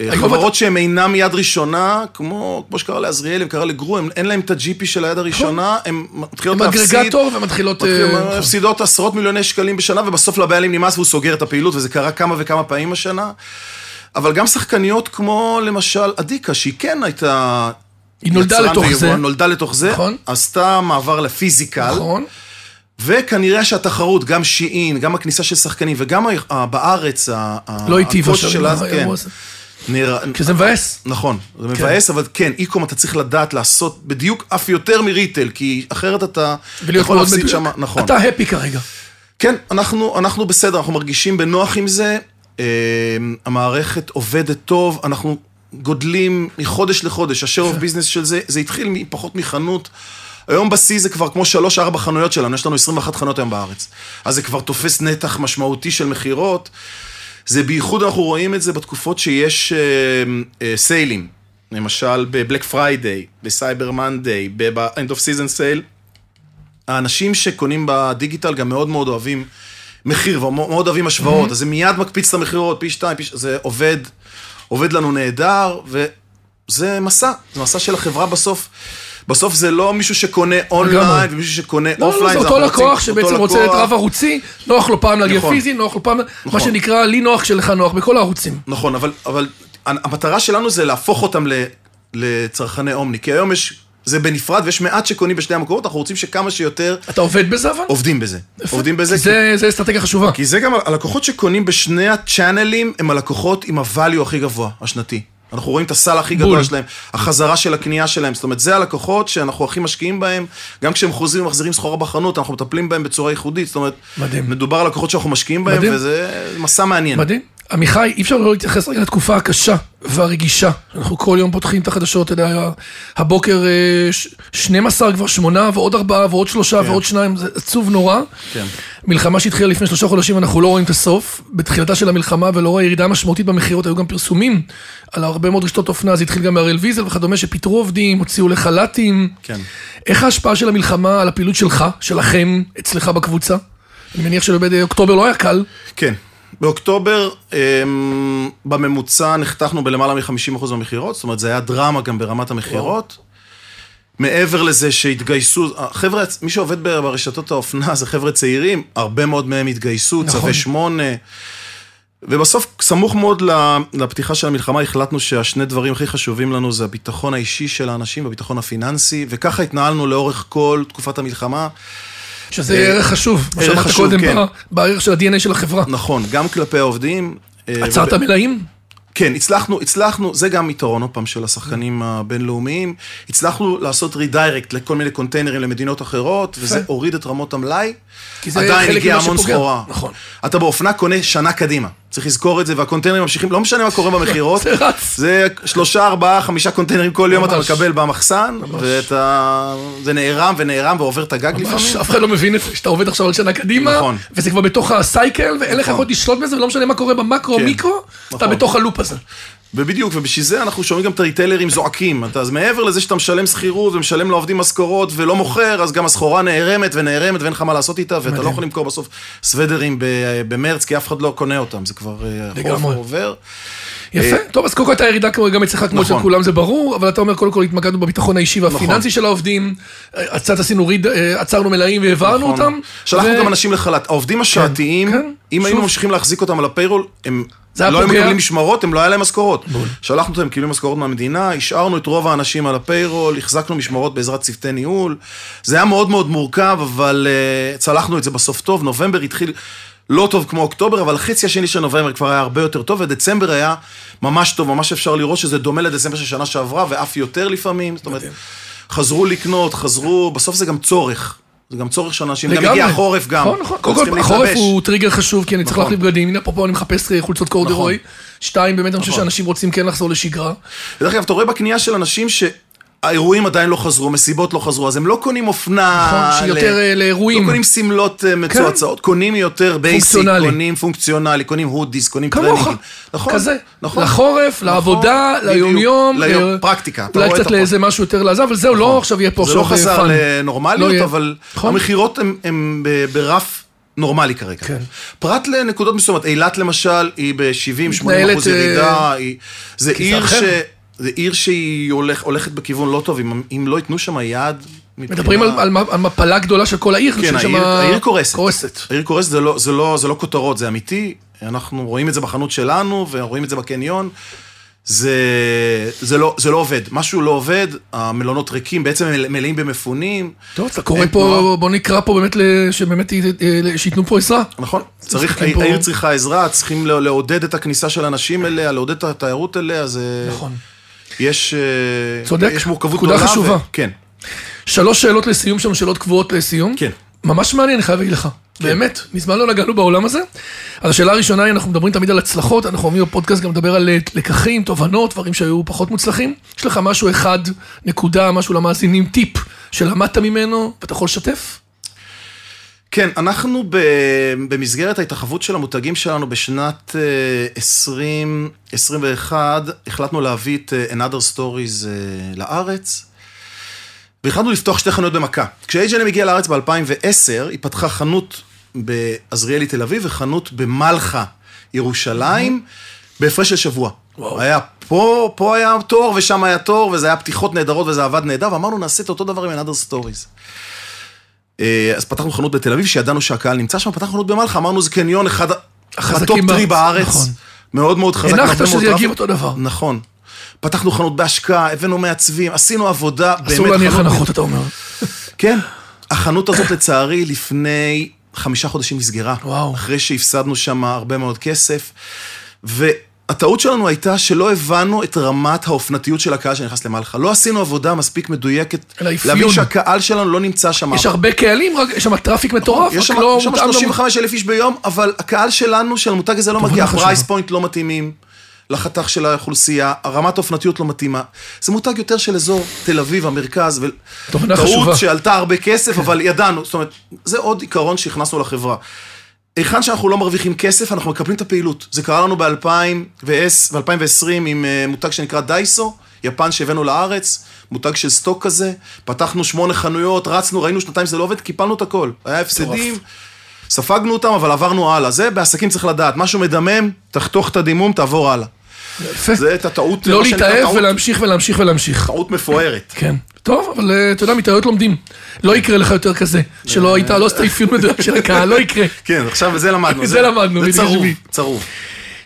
Speaker 4: אה,
Speaker 3: היום
Speaker 4: חברות שהן אינן יד ראשונה, כמו, כמו שקרה לעזריאלי וקרה לגרו, הם, אין להם את הג'יפי של
Speaker 3: נכון.
Speaker 4: היד הראשונה, הן מתחילות
Speaker 3: עם
Speaker 4: להפסיד.
Speaker 3: אגרגטור ומתחילות...
Speaker 4: מתחילות-
Speaker 3: אה,
Speaker 4: הן מפסידות עשרות מיליוני שקלים בשנה, ובסוף לבעלים נמאס והוא סוגר את הפעילות, וזה קרה כמה וכמה פעמים השנה. אבל גם שחקניות כמו למשל אדיקה, שהיא כן הייתה...
Speaker 3: היא נולדה
Speaker 4: יצרן
Speaker 3: לתוך
Speaker 4: ויבואן,
Speaker 3: זה.
Speaker 4: נולדה לתוך זה,
Speaker 3: נכון.
Speaker 4: עשתה מעבר לפיזיקל,
Speaker 3: נכון.
Speaker 4: אה, וכנראה שהתחרות, גם שיעין, גם הכניסה של שחקנים, וגם ה- ה- בארץ, ה- ה-
Speaker 3: לא היטיבה
Speaker 4: הקושי
Speaker 3: שם,
Speaker 4: של אז, כן,
Speaker 3: האירוע הזה.
Speaker 4: נראה...
Speaker 3: כי זה מבאס.
Speaker 4: נכון, זה מבאס, אבל כן, איקום אתה צריך לדעת לעשות בדיוק אף יותר מריטל, כי אחרת אתה
Speaker 3: ולהיות
Speaker 4: יכול
Speaker 3: מאוד
Speaker 4: להפסיד
Speaker 3: מדויק.
Speaker 4: שם, נכון.
Speaker 3: אתה הפי כרגע.
Speaker 4: כן, אנחנו, אנחנו בסדר, אנחנו מרגישים בנוח עם זה, אה, המערכת עובדת טוב, אנחנו גודלים מחודש לחודש, השאר אוף ביזנס של זה, זה התחיל מפחות מחנות. היום בשיא זה כבר כמו שלוש-ארבע חנויות שלנו, יש לנו 21 חנויות היום בארץ. אז זה כבר תופס נתח משמעותי של מכירות. זה בייחוד אנחנו רואים את זה בתקופות שיש אה, אה, סיילים. למשל בבלק פריידיי, בסייבר מנדיי, ב-end of season sale, האנשים שקונים בדיגיטל גם מאוד מאוד אוהבים מחיר ומאוד אוהבים
Speaker 3: Mm-hmm.
Speaker 4: השוואות, אז זה מיד מקפיץ את המכירות, פי שתיים, פי ש... זה עובד, עובד לנו נהדר, וזה מסע, זה מסע של החברה בסוף. בסוף זה לא מישהו שקונה אונליין, ומישהו שקונה
Speaker 3: לא, לא,
Speaker 4: אופליין,
Speaker 3: זה
Speaker 4: זה
Speaker 3: אותו
Speaker 4: אנחנו רוצים-
Speaker 3: לקוח שבעצם
Speaker 4: אותו
Speaker 3: רוצה את
Speaker 4: לקוח.
Speaker 3: רב ערוצי, נוח לו פעם להגיע
Speaker 4: נכון.
Speaker 3: פיזי, נוח לו פעם, מה
Speaker 4: נכון.
Speaker 3: שנקרא, לי נוח שלך נוח, בכל הערוצים.
Speaker 4: נכון, אבל, אבל המטרה שלנו זה להפוך אותם ל, לצרכני אומני, כי היום יש, זה בנפרד ויש מעט שקונים בשני המקומות, אנחנו רוצים שכמה שיותר
Speaker 3: אתה עובד בזה אבל?
Speaker 4: עובדים בזה. עובדים בזה,
Speaker 3: כי
Speaker 4: כי,
Speaker 3: זה זה אסטרטגיה חשובה.
Speaker 4: כי זה גם, הלקוחות שקונים בשני הצ'אנלים הם הלקוחות עם הvalue הכי גבוה, השנתי. אנחנו רואים את הסל הכי
Speaker 3: בול.
Speaker 4: גדול שלהם, החזרה של הקנייה שלהם, זאת אומרת, זה הלקוחות שאנחנו הכי משקיעים בהם, גם כשהם חוזרים ומחזירים סחורה בחנות, אנחנו מטפלים בהם בצורה ייחודית, זאת אומרת,
Speaker 3: מדהים.
Speaker 4: מדובר על לקוחות שאנחנו משקיעים בהם,
Speaker 3: מדהים.
Speaker 4: וזה מסע מעניין.
Speaker 3: מדהים. עמיחי, אי אפשר לא להתייחס רגע לתקופה הקשה והרגישה. אנחנו כל יום פותחים את החדשות, אתה יודע, הבוקר אה, ש- 12, כבר שמונה, ועוד ארבעה, ועוד שלושה, ועוד שניים, זה עצוב נורא.
Speaker 4: כן.
Speaker 3: מלחמה שהתחילה לפני שלושה חודשים, אנחנו לא רואים את הסוף. בתחילתה של המלחמה, ולאור הירידה המשמעותית במכירות, היו גם פרסומים על הרבה מאוד רשתות אופנה, זה התחיל גם מהראל ויזל וכדומה, שפיטרו עובדים, הוציאו לחל"תים.
Speaker 4: כן.
Speaker 3: איך ההשפעה של המלחמה על הפעילות שלך, שלכם, אצלך בקבוצה? אני מניח שבאוקטובר לא היה קל.
Speaker 4: כן. באוקטובר אמ, בממוצע נחתכנו בלמעלה מ-50% מהמכירות, זאת אומרת, זה היה דרמה גם ברמת המכירות. מעבר לזה שהתגייסו, חבר'ה, מי שעובד ב- ברשתות האופנה זה חבר'ה צעירים, הרבה מאוד מהם התגייסו,
Speaker 3: נכון.
Speaker 4: צווי שמונה. ובסוף, סמוך מאוד ל- לפתיחה של המלחמה, החלטנו שהשני דברים הכי חשובים לנו זה הביטחון האישי של האנשים והביטחון הפיננסי, וככה התנהלנו לאורך כל תקופת המלחמה.
Speaker 3: שזה
Speaker 4: אה,
Speaker 3: ערך חשוב, מה
Speaker 4: ערך
Speaker 3: שאמרת
Speaker 4: חשוב,
Speaker 3: קודם,
Speaker 4: כן.
Speaker 3: ב- בערך של ה-DNA של החברה.
Speaker 4: נכון, גם כלפי העובדים. אה,
Speaker 3: עצרת מלאים?
Speaker 4: כן, הצלחנו, הצלחנו, זה גם יתרון, עוד פעם, של השחקנים
Speaker 3: Mm.
Speaker 4: הבינלאומיים. הצלחנו לעשות רידיירקט לכל מיני קונטיינרים למדינות אחרות, וזה הוריד את רמות המלאי.
Speaker 3: כי זה
Speaker 4: עדיין
Speaker 3: חלק
Speaker 4: הגיע
Speaker 3: ממה
Speaker 4: המון
Speaker 3: שפוגע.
Speaker 4: סחורה.
Speaker 3: נכון.
Speaker 4: אתה באופנה קונה שנה קדימה. צריך לזכור את זה, והקונטיינרים ממשיכים, לא משנה מה קורה במכירות.
Speaker 3: [laughs] זה רץ.
Speaker 4: זה שלושה, ארבעה, חמישה קונטיינרים כל יום אתה
Speaker 3: ממש.
Speaker 4: מקבל במחסן, ואתה... זה נערם ונערם ועובר את הגג לפעמים.
Speaker 3: אף אחד לא מבין את זה, שאתה עובד עכשיו על שנה קדימה,
Speaker 4: נכון.
Speaker 3: וזה כבר בתוך הסייקל, ואין לך
Speaker 4: נכון.
Speaker 3: יכולת לשלוט בזה, ולא משנה מה קורה במקרו,
Speaker 4: כן.
Speaker 3: מיקרו, אתה
Speaker 4: נכון.
Speaker 3: בתוך הלופ הזה.
Speaker 4: ובדיוק, ובשביל זה אנחנו שומעים גם את הריטיילרים זועקים. אתה, אז מעבר לזה שאתה משלם שכירות ומשלם לעובדים משכורות ולא מוכר, אז גם הסחורה נערמת ונערמת ואין לך מה לעשות איתה, ואתה לא יכול למכור בסוף סוודרים ב- במרץ, כי אף אחד לא קונה אותם, זה כבר אה, החורף
Speaker 3: לגמרי.
Speaker 4: עובר.
Speaker 3: יפה, טוב, אז קודם כל הייתה ירידה כמו גם אצלך, כמו של
Speaker 4: נכון.
Speaker 3: כולם, זה ברור, אבל אתה אומר, קודם כל התמקדנו בביטחון האישי והפיננסי של העובדים, אה, קצת עשינו ריד, אה, עצרנו מלאים והעברנו
Speaker 4: נכון.
Speaker 3: אותם.
Speaker 4: שלחנו
Speaker 3: ו-
Speaker 4: גם אנשים לחל"ת. העובדים השעתיים,
Speaker 3: כן.
Speaker 4: אם היינו
Speaker 3: שוב.
Speaker 4: ממשיכים להחזיק אותם על הפיירול, הם
Speaker 3: זה היה
Speaker 4: לא היו
Speaker 3: פוגע.
Speaker 4: מקבלים משמרות, הם לא היה להם משכורות. שלחנו אותם, הם קיבלו משכורות מהמדינה, השארנו את רוב האנשים על הפיירול, החזקנו משמרות בעזרת צוותי ניהול. זה היה מאוד מאוד מורכב, אבל אה, צלחנו את זה בסוף טוב. נובמבר התחיל... לא טוב כמו אוקטובר, אבל החצי השני של נובמבר כבר היה הרבה יותר טוב, ודצמבר היה ממש טוב, ממש אפשר לראות שזה דומה לדצמבר של שנה שעברה, ואף יותר לפעמים. זאת אומרת, חזרו לקנות, חזרו, בסוף זה גם צורך. זה גם צורך של אנשים, גם
Speaker 3: לגמרי.
Speaker 4: הגיע החורף גם.
Speaker 3: נכון, נכון.
Speaker 4: אז
Speaker 3: קודם
Speaker 4: צריכים
Speaker 3: כל, החורף
Speaker 4: להתלבש.
Speaker 3: הוא טריגר חשוב, כי אני צריך
Speaker 4: נכון.
Speaker 3: להחליף בגדים. הנה, אפרופו, אני מחפש אה, חולצות קורדרוי. שתיים, באמת אני
Speaker 4: נכון.
Speaker 3: חושב שאנשים רוצים כן לחזור לשגרה.
Speaker 4: דרך אגב, אתה רואה בקנייה של אנשים שהאירועים עדיין לא חזרו, מסיבות לא חזרו, אז הם לא קונים אופנה...
Speaker 3: נכון, שהיא
Speaker 4: ל-
Speaker 3: יותר, אה, לאירועים. כן.
Speaker 4: לא קונים שמלות אה, מצועצעות, קונים יותר בייסיק,
Speaker 3: פונקציונלי.
Speaker 4: קונים פונקציונלי, קונים הודיס, קונים
Speaker 3: כמוך,
Speaker 4: טרנינגים. נכון,
Speaker 3: כזה,
Speaker 4: נכון.
Speaker 3: לחורף, לעבודה,
Speaker 4: בדיוק,
Speaker 3: ליומיום,
Speaker 4: ליום-
Speaker 3: אה,
Speaker 4: פרקטיקה, אתה
Speaker 3: אולי
Speaker 4: רואה את
Speaker 3: קצת
Speaker 4: הפרקטיקה.
Speaker 3: לאיזה משהו יותר לעזב, אבל זהו, לא עכשיו יהיה פה
Speaker 4: זה לא
Speaker 3: עכשיו אה,
Speaker 4: חזר
Speaker 3: פאן. לא
Speaker 4: לנורמליות,
Speaker 3: יהיה.
Speaker 4: אבל
Speaker 3: נכון.
Speaker 4: המכירות הן- הן ב- ברף נורמלי כרגע.
Speaker 3: כן.
Speaker 4: פרט לנקודות מסוימת, אילת למשל, היא ב-70-80
Speaker 3: מתנהלת,
Speaker 4: אחוז
Speaker 3: אה,
Speaker 4: ירידה, היא- זה
Speaker 3: זה
Speaker 4: עיר
Speaker 3: אחר.
Speaker 4: ש... זה עיר שהיא הולך, הולכת בכיוון לא טוב, אם, אם לא ייתנו שם יד... מבחינה-
Speaker 3: מדברים על- על מ- על מפלה גדולה של כל העיר,
Speaker 4: כן,
Speaker 3: שיש
Speaker 4: העיר,
Speaker 3: שמה-
Speaker 4: העיר קורסת.
Speaker 3: קורסת.
Speaker 4: העיר קורסת זה לא, זה, לא, זה לא כותרות, זה אמיתי. אנחנו רואים את זה בחנות שלנו, ורואים את זה בקניון. זה, זה, לא, זה לא עובד. משהו לא עובד, המלונות ריקים, בעצם מלא- מלאים במפונים.
Speaker 3: טוב, אתה קורא
Speaker 4: אין
Speaker 3: פה,
Speaker 4: תנועה.
Speaker 3: בוא נקרא פה באמת, ל- שבאמת, י- אה, שייתנו פה עזרה. [laughs]
Speaker 4: נכון, צריך,
Speaker 3: צריכים פה-
Speaker 4: העיר צריכה עזרה, צריכים לא- לעודד את הכניסה של אנשים אליה, לעודד את התיירות אליה, זה...
Speaker 3: נכון.
Speaker 4: יש... אה,
Speaker 3: צודק,
Speaker 4: יש מורכבות
Speaker 3: נקודה
Speaker 4: גדולה. ו-
Speaker 3: חשובה.
Speaker 4: כן.
Speaker 3: שלוש שאלות לסיום שם, שאלות קבועות לסיום.
Speaker 4: כן.
Speaker 3: ממש מעניין, אני חייב להגיד לך. באמת, מזמן לא נגענו בעולם הזה. אז השאלה הראשונה היא, אנחנו מדברים תמיד על הצלחות, אנחנו אוהבים בפודקאסט גם לדבר על אה, לקחים, תובנות, דברים שהיו פחות מוצלחים. יש לך משהו אחד, נקודה, משהו למאזינים, טיפ, שלמדת ממנו, ואתה יכול לשתף?
Speaker 4: כן, אנחנו ב, במסגרת ההתרחבות של המותגים שלנו בשנת אה, 2021, החלטנו להביא את אה, Another Stories אה, לארץ, והחלטנו לפתוח שתי חנויות במכה. כש-H&M הגיעה לארץ ב-2010, היא פתחה חנות בעזריאלי תל אביב וחנות במלחה, ירושלים, בהפרש של שבוע.
Speaker 3: Mm-hmm. וואו.
Speaker 4: היה פה, פה היה תור ושם היה תור, וזה היה פתיחות נהדרות וזה עבד נהדר, ואמרנו נעשה את אותו דבר עם Another Stories. אה, אז פתחנו חנות בתל אביב, שידענו שהקהל נמצא שם, פתחנו חנות במלחה, אמרנו זה קניון אחד,
Speaker 3: החזקים
Speaker 4: בטופ טרי
Speaker 3: בארץ,
Speaker 4: בארץ,
Speaker 3: נכון.
Speaker 4: מאוד מאוד חזק.
Speaker 3: הנחת
Speaker 4: עם הרבה מאוד
Speaker 3: שזה
Speaker 4: טראפיק.
Speaker 3: יגיב אותו דבר.
Speaker 4: נכון. פתחנו חנות בהשקעה, הבאנו מעצבים, עשינו עבודה,
Speaker 3: אסור
Speaker 4: באמת אה.
Speaker 3: להניח
Speaker 4: חנות-
Speaker 3: הנחות, אתה אומר.
Speaker 4: כן. החנות הזאת לצערי לפני חמישה חודשים נסגרה.
Speaker 3: וואו.
Speaker 4: אחרי שהפסדנו שם הרבה מאוד כסף. והטעות שלנו הייתה שלא הבנו את רמת האופנתיות של הקהל שנכנס למלחה. לא עשינו עבודה מספיק מדויקת.
Speaker 3: אלא אפיון.
Speaker 4: להבין שהקהל שלנו לא נמצא שם.
Speaker 3: יש הרבה קהלים, רק- יש שם טראפיק מטורף,
Speaker 4: יש
Speaker 3: רק
Speaker 4: שם,
Speaker 3: לא
Speaker 4: יש שם
Speaker 3: מותאם למותג.
Speaker 4: 35 אלף איש ביום, אבל הקהל שלנו, של המותג הזה לא מגיע,
Speaker 3: חשובה.
Speaker 4: הפרייס פוינט לא מתאימים לחתך של האוכלוסייה, הרמת האופנתיות לא מתאימה. זה מותג יותר של אזור תל אביב, המרכז, ו-
Speaker 3: תובנה חשובה.
Speaker 4: שעלתה הרבה
Speaker 3: כן.
Speaker 4: כסף, אבל ידענו, זאת אומרת, זה עוד עיקרון שהכנסנו לחברה. היכן שאנחנו לא מרוויחים כסף, אנחנו מקבלים את הפעילות. זה קרה לנו ב-2020 עם אה, מותג שנקרא דייסו, יפן שהבאנו לארץ, מותג של סטוק כזה, פתחנו שמונה חנויות, רצנו, ראינו שנתיים שזה לא עובד, קיפלנו את הכל. היה הפסדים, ספגנו אותם, אבל עברנו הלאה. זה בעסקים צריך לדעת, משהו מדמם, תחתוך את הדימום, תעבור הלאה.
Speaker 3: יפה.
Speaker 4: זה את הטעות,
Speaker 3: לא
Speaker 4: מה שנקרא,
Speaker 3: להתאהב
Speaker 4: טעות-
Speaker 3: ולהמשיך ולהמשיך ולהמשיך.
Speaker 4: טעות מפוארת.
Speaker 3: כן. טוב, אבל אה, אתה יודע, מטעויות לומדים.
Speaker 4: כן.
Speaker 3: לא יקרה לך יותר כזה. שלא
Speaker 4: אה.
Speaker 3: היית, לא עשית אפיון מדויק [laughs] של הקהל, לא יקרה.
Speaker 4: כן, עכשיו זה למדנו.
Speaker 3: זה למדנו,
Speaker 4: זה
Speaker 3: בדיוק
Speaker 4: צרוב,
Speaker 3: בשביל.
Speaker 4: צרוב.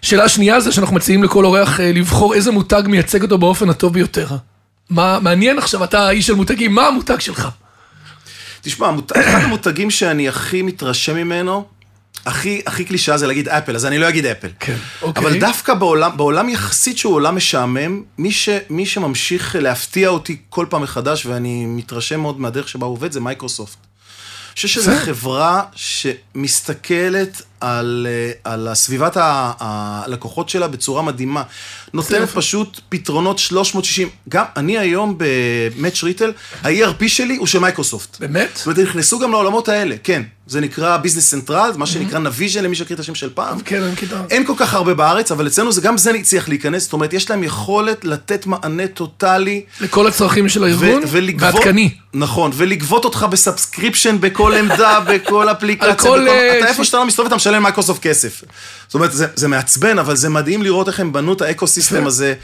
Speaker 3: שאלה שנייה זה שאנחנו מציעים לכל אורח אה, לבחור איזה מותג מייצג אותו באופן הטוב ביותר. מה, מעניין עכשיו, אתה האיש של מותגים, מה המותג שלך?
Speaker 4: תשמע, המות- אחד המותגים שאני הכי מתרשם ממנו, הכי, הכי קלישאה זה להגיד אפל, אז אני לא אגיד אפל.
Speaker 3: כן, אוקיי.
Speaker 4: אבל דווקא בעולם, בעולם יחסית שהוא עולם משעמם, מי, ש, מי שממשיך להפתיע אותי כל פעם מחדש, ואני מתרשם מאוד מהדרך שבה הוא עובד, זה מייקרוסופט. אני חושב שזו חברה שמסתכלת על, אה, על הסביבת ה- הלקוחות שלה בצורה מדהימה. נותנת פשוט פתרונות 360. גם אני היום במאץ' ריטל, ה-ERP שלי הוא של מייקרוסופט.
Speaker 3: באמת?
Speaker 4: זאת אומרת, נכנסו גם לעולמות האלה, כן. זה נקרא ביזנס סנטרל, מה שנקרא
Speaker 3: Mm-hmm.
Speaker 4: נוויז'ן, למי שמכיר את השם של פעם.
Speaker 3: כן, אני מכיר.
Speaker 4: אין כל כך הרבה בארץ, אבל אצלנו זה גם זה הצליח להיכנס, זאת אומרת, יש להם יכולת לתת מענה טוטאלי.
Speaker 3: לכל הצרכים של
Speaker 4: ו-
Speaker 3: הארגון,
Speaker 4: ולגבות-
Speaker 3: ועדכני.
Speaker 4: נכון, ולגבות אותך
Speaker 3: [laughs]
Speaker 4: בסאבסקריפשן בכל עמדה, בכל אפליקציה.
Speaker 3: על כל,
Speaker 4: בכל-
Speaker 3: אה,
Speaker 4: אתה
Speaker 3: ש-
Speaker 4: איפה שאתה לא מסתובב, אתה משלם מייקרוסופט כסף. זאת אומרת, זה זה מעצבן, אבל זה מדהים לראות איך הם בנו
Speaker 3: [laughs]
Speaker 4: את האקו-סיסטם הזה,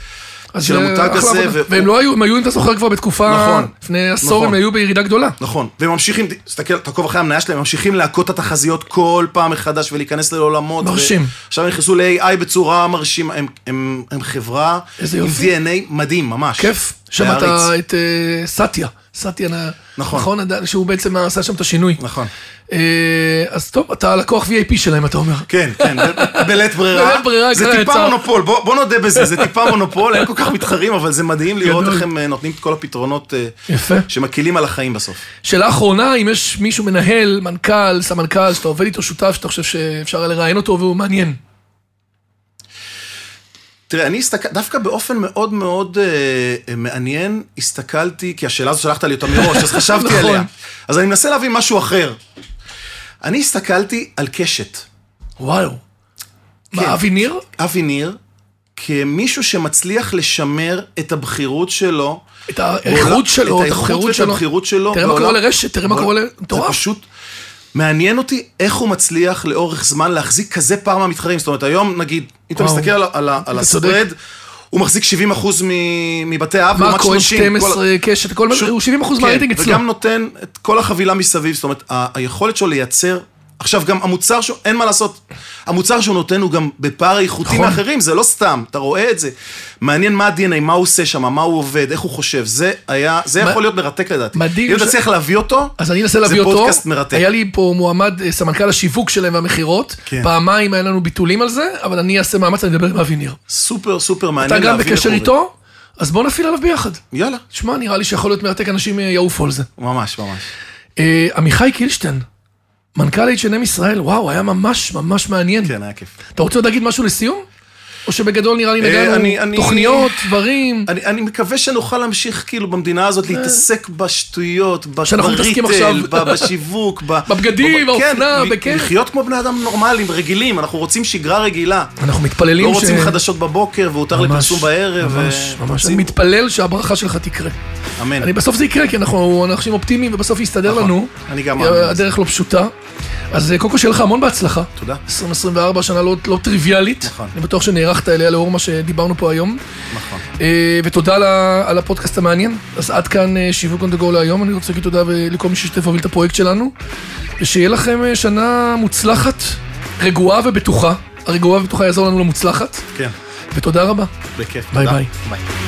Speaker 3: אז
Speaker 4: של
Speaker 3: זה
Speaker 4: המותג
Speaker 3: אחלה
Speaker 4: הזה.
Speaker 3: עבודה.
Speaker 4: והוא-
Speaker 3: והם לא היו, הם היו, אם אתה זוכר, כבר בתקופה,
Speaker 4: נכון,
Speaker 3: לפני עשור
Speaker 4: נכון.
Speaker 3: הם היו בירידה גדולה.
Speaker 4: נכון, והם ממשיכים, תסתכל, תעקוב אחרי המניה שלהם, ממשיכים להכות את התחזיות כל פעם מחדש ולהיכנס לעולמות.
Speaker 3: מרשים.
Speaker 4: עכשיו הם נכנסו ל-AI בצורה מרשימה, הם, הם, הם חברה
Speaker 3: איזה
Speaker 4: עם
Speaker 3: יופי.
Speaker 4: DNA מדהים, ממש.
Speaker 3: כיף. שמעת
Speaker 4: להעריץ.
Speaker 3: את אה, סטיה. סטיה, נ-
Speaker 4: נכון.
Speaker 3: נכון, עדיין, שהוא בעצם עשה שם את השינוי.
Speaker 4: נכון.
Speaker 3: אה, אז טוב, אתה לקוח VIP שלהם, אתה אומר.
Speaker 4: כן, כן, ב- בלית ברירה.
Speaker 3: בלית ברירה,
Speaker 4: זה
Speaker 3: כבר יצא.
Speaker 4: טיפה מונופול, בוא בוא נודה בזה, זה
Speaker 3: [laughs]
Speaker 4: טיפה מונופול, אין כל כך מתחרים, אבל זה מדהים לראות
Speaker 3: גדול.
Speaker 4: איך הם אה, נותנים את כל הפתרונות אה,
Speaker 3: יפה.
Speaker 4: שמקלים על החיים בסוף.
Speaker 3: שאלה אחרונה, אם יש מישהו, מנהל, מנכ"ל, סמנכ"ל, שאתה עובד איתו שותף, שאתה חושב שאפשר היה לראיין אותו והוא מעניין.
Speaker 4: תראה, אני הסתכל... דווקא באופן מאוד מאוד אה, מעניין, הסתכלתי, כי השאלה הזו שלחת לי אותה מראש,
Speaker 3: [laughs]
Speaker 4: אז חשבתי
Speaker 3: נכון.
Speaker 4: עליה. אז אני מנסה להביא משהו אחר. אני הסתכלתי על קשת.
Speaker 3: וואו.
Speaker 4: כן.
Speaker 3: מה, אבי ניר?
Speaker 4: אבי ניר, כמישהו שמצליח לשמר את הבחירות שלו.
Speaker 3: את האיכות שלו, את
Speaker 4: האיכות
Speaker 3: הבחירות
Speaker 4: ואת
Speaker 3: שלו.
Speaker 4: הבחירות שלו.
Speaker 3: תראה מה
Speaker 4: בעולם-
Speaker 3: קורה לרשת, תראה מה
Speaker 4: בעולם-
Speaker 3: קורה ל...
Speaker 4: זה
Speaker 3: מטורף.
Speaker 4: פשוט... מעניין אותי איך הוא מצליח לאורך זמן להחזיק כזה פער מהמתחרים. זאת אומרת, היום נגיד, אם אתה
Speaker 3: וואו.
Speaker 4: מסתכל על, ה- על, ה- על
Speaker 3: אתה צודק.
Speaker 4: הספרד, הוא מחזיק 70 אחוז מבתי האב, לעומת
Speaker 3: מה, כהן
Speaker 4: 30. כל ה-
Speaker 3: 12, קשת, כל מה,
Speaker 4: פשוט- כן,
Speaker 3: הוא 70 אחוז מהרייטינג אצלו.
Speaker 4: וגם נותן את כל החבילה מסביב, זאת אומרת, ה- היכולת שלו לייצר... עכשיו, גם המוצר שהוא, אין מה לעשות, המוצר שהוא נותן הוא גם בפער איכותי
Speaker 3: נכון.
Speaker 4: מאחרים, זה לא סתם, אתה רואה את זה. מעניין מה ה-DNA, מה הוא עושה שם, מה הוא עובד, איך הוא חושב, זה היה, זה
Speaker 3: מה-
Speaker 4: יכול להיות מרתק לדעתי.
Speaker 3: מדהים
Speaker 4: אם
Speaker 3: ש-
Speaker 4: תצליח להביא אותו,
Speaker 3: אז אני אנסה להביא אותו.
Speaker 4: זה פודקאסט מרתק.
Speaker 3: היה לי פה מועמד, אה, סמנכ"ל השיווק שלהם והמכירות.
Speaker 4: כן.
Speaker 3: פעמיים היה לנו ביטולים על זה, אבל אני אעשה מאמץ, אני אדבר עם אבי ניר.
Speaker 4: סופר סופר
Speaker 3: אתה
Speaker 4: מעניין
Speaker 3: גם
Speaker 4: להביא
Speaker 3: בקשר
Speaker 4: לקורא.
Speaker 3: איתו? אז בוא נפעיל עליו ביחד.
Speaker 4: יאללה,
Speaker 3: תשמע, נראה לי שיכול להיות מרתק, אנשים אה, יעופו על זה.
Speaker 4: ממש ממש.
Speaker 3: אה, עמיחי קילשטיין, מנכ"ל H&M ישראל, וואו, היה ממש ממש מעניין.
Speaker 4: כן, היה כיף.
Speaker 3: אתה רוצה עוד להגיד משהו לסיום? או שבגדול נראה לי
Speaker 4: אה, אני-
Speaker 3: נגענו
Speaker 4: אני-
Speaker 3: תוכניות, דברים,
Speaker 4: אני, אני מקווה שנוכל להמשיך כאילו במדינה הזאת להתעסק בשטויות,
Speaker 3: שאנחנו אה. מתעסקים עכשיו.
Speaker 4: בריטל, ב- בשיווק, ב-
Speaker 3: בבגדים,
Speaker 4: ב- ב- כן,
Speaker 3: באופנה,
Speaker 4: ל-
Speaker 3: בכיף.
Speaker 4: לחיות כמו בני אדם נורמליים, רגילים, אנחנו רוצים שגרה רגילה.
Speaker 3: אנחנו מתפללים
Speaker 4: לא
Speaker 3: ש-
Speaker 4: רוצים חדשות בבוקר והותר
Speaker 3: ממש,
Speaker 4: לפרסום בערב.
Speaker 3: ממש,
Speaker 4: ו-
Speaker 3: ממש. אני
Speaker 4: רוצים- כן.
Speaker 3: מתפלל שהברכה שלך תקרה.
Speaker 4: אמן.
Speaker 3: אני בסוף זה יקרה, כי אנחנו אנשים אופטימיים ובסוף יסתדר
Speaker 4: נכון.
Speaker 3: לנו.
Speaker 4: אני גם מאמין בזה.
Speaker 3: הדרך לא פשוטה. אז אה, קודם כל שיהיה לך המון בהצלחה.
Speaker 4: תודה.
Speaker 3: 2024, שנה לא, לא טריוויאלית.
Speaker 4: נכון.
Speaker 3: אני בטוח שנערכת אליה לאור מה שדיברנו פה היום.
Speaker 4: נכון.
Speaker 3: אה, ותודה על, ה, על הפודקאסט המעניין. אז עד כאן אה, שיווק אונדה גו להיום. אני רוצה להגיד תודה ו- לכל מי שהשתתף והוביל את הפרויקט שלנו. ושיהיה לכם אה, שנה מוצלחת, רגועה ובטוחה. הרגועה ובטוחה יעזור לנו למוצלחת.
Speaker 4: כן,
Speaker 3: ותודה רבה.
Speaker 4: בכיף.
Speaker 3: ביי
Speaker 4: תודה.
Speaker 3: ביי.
Speaker 4: ביי.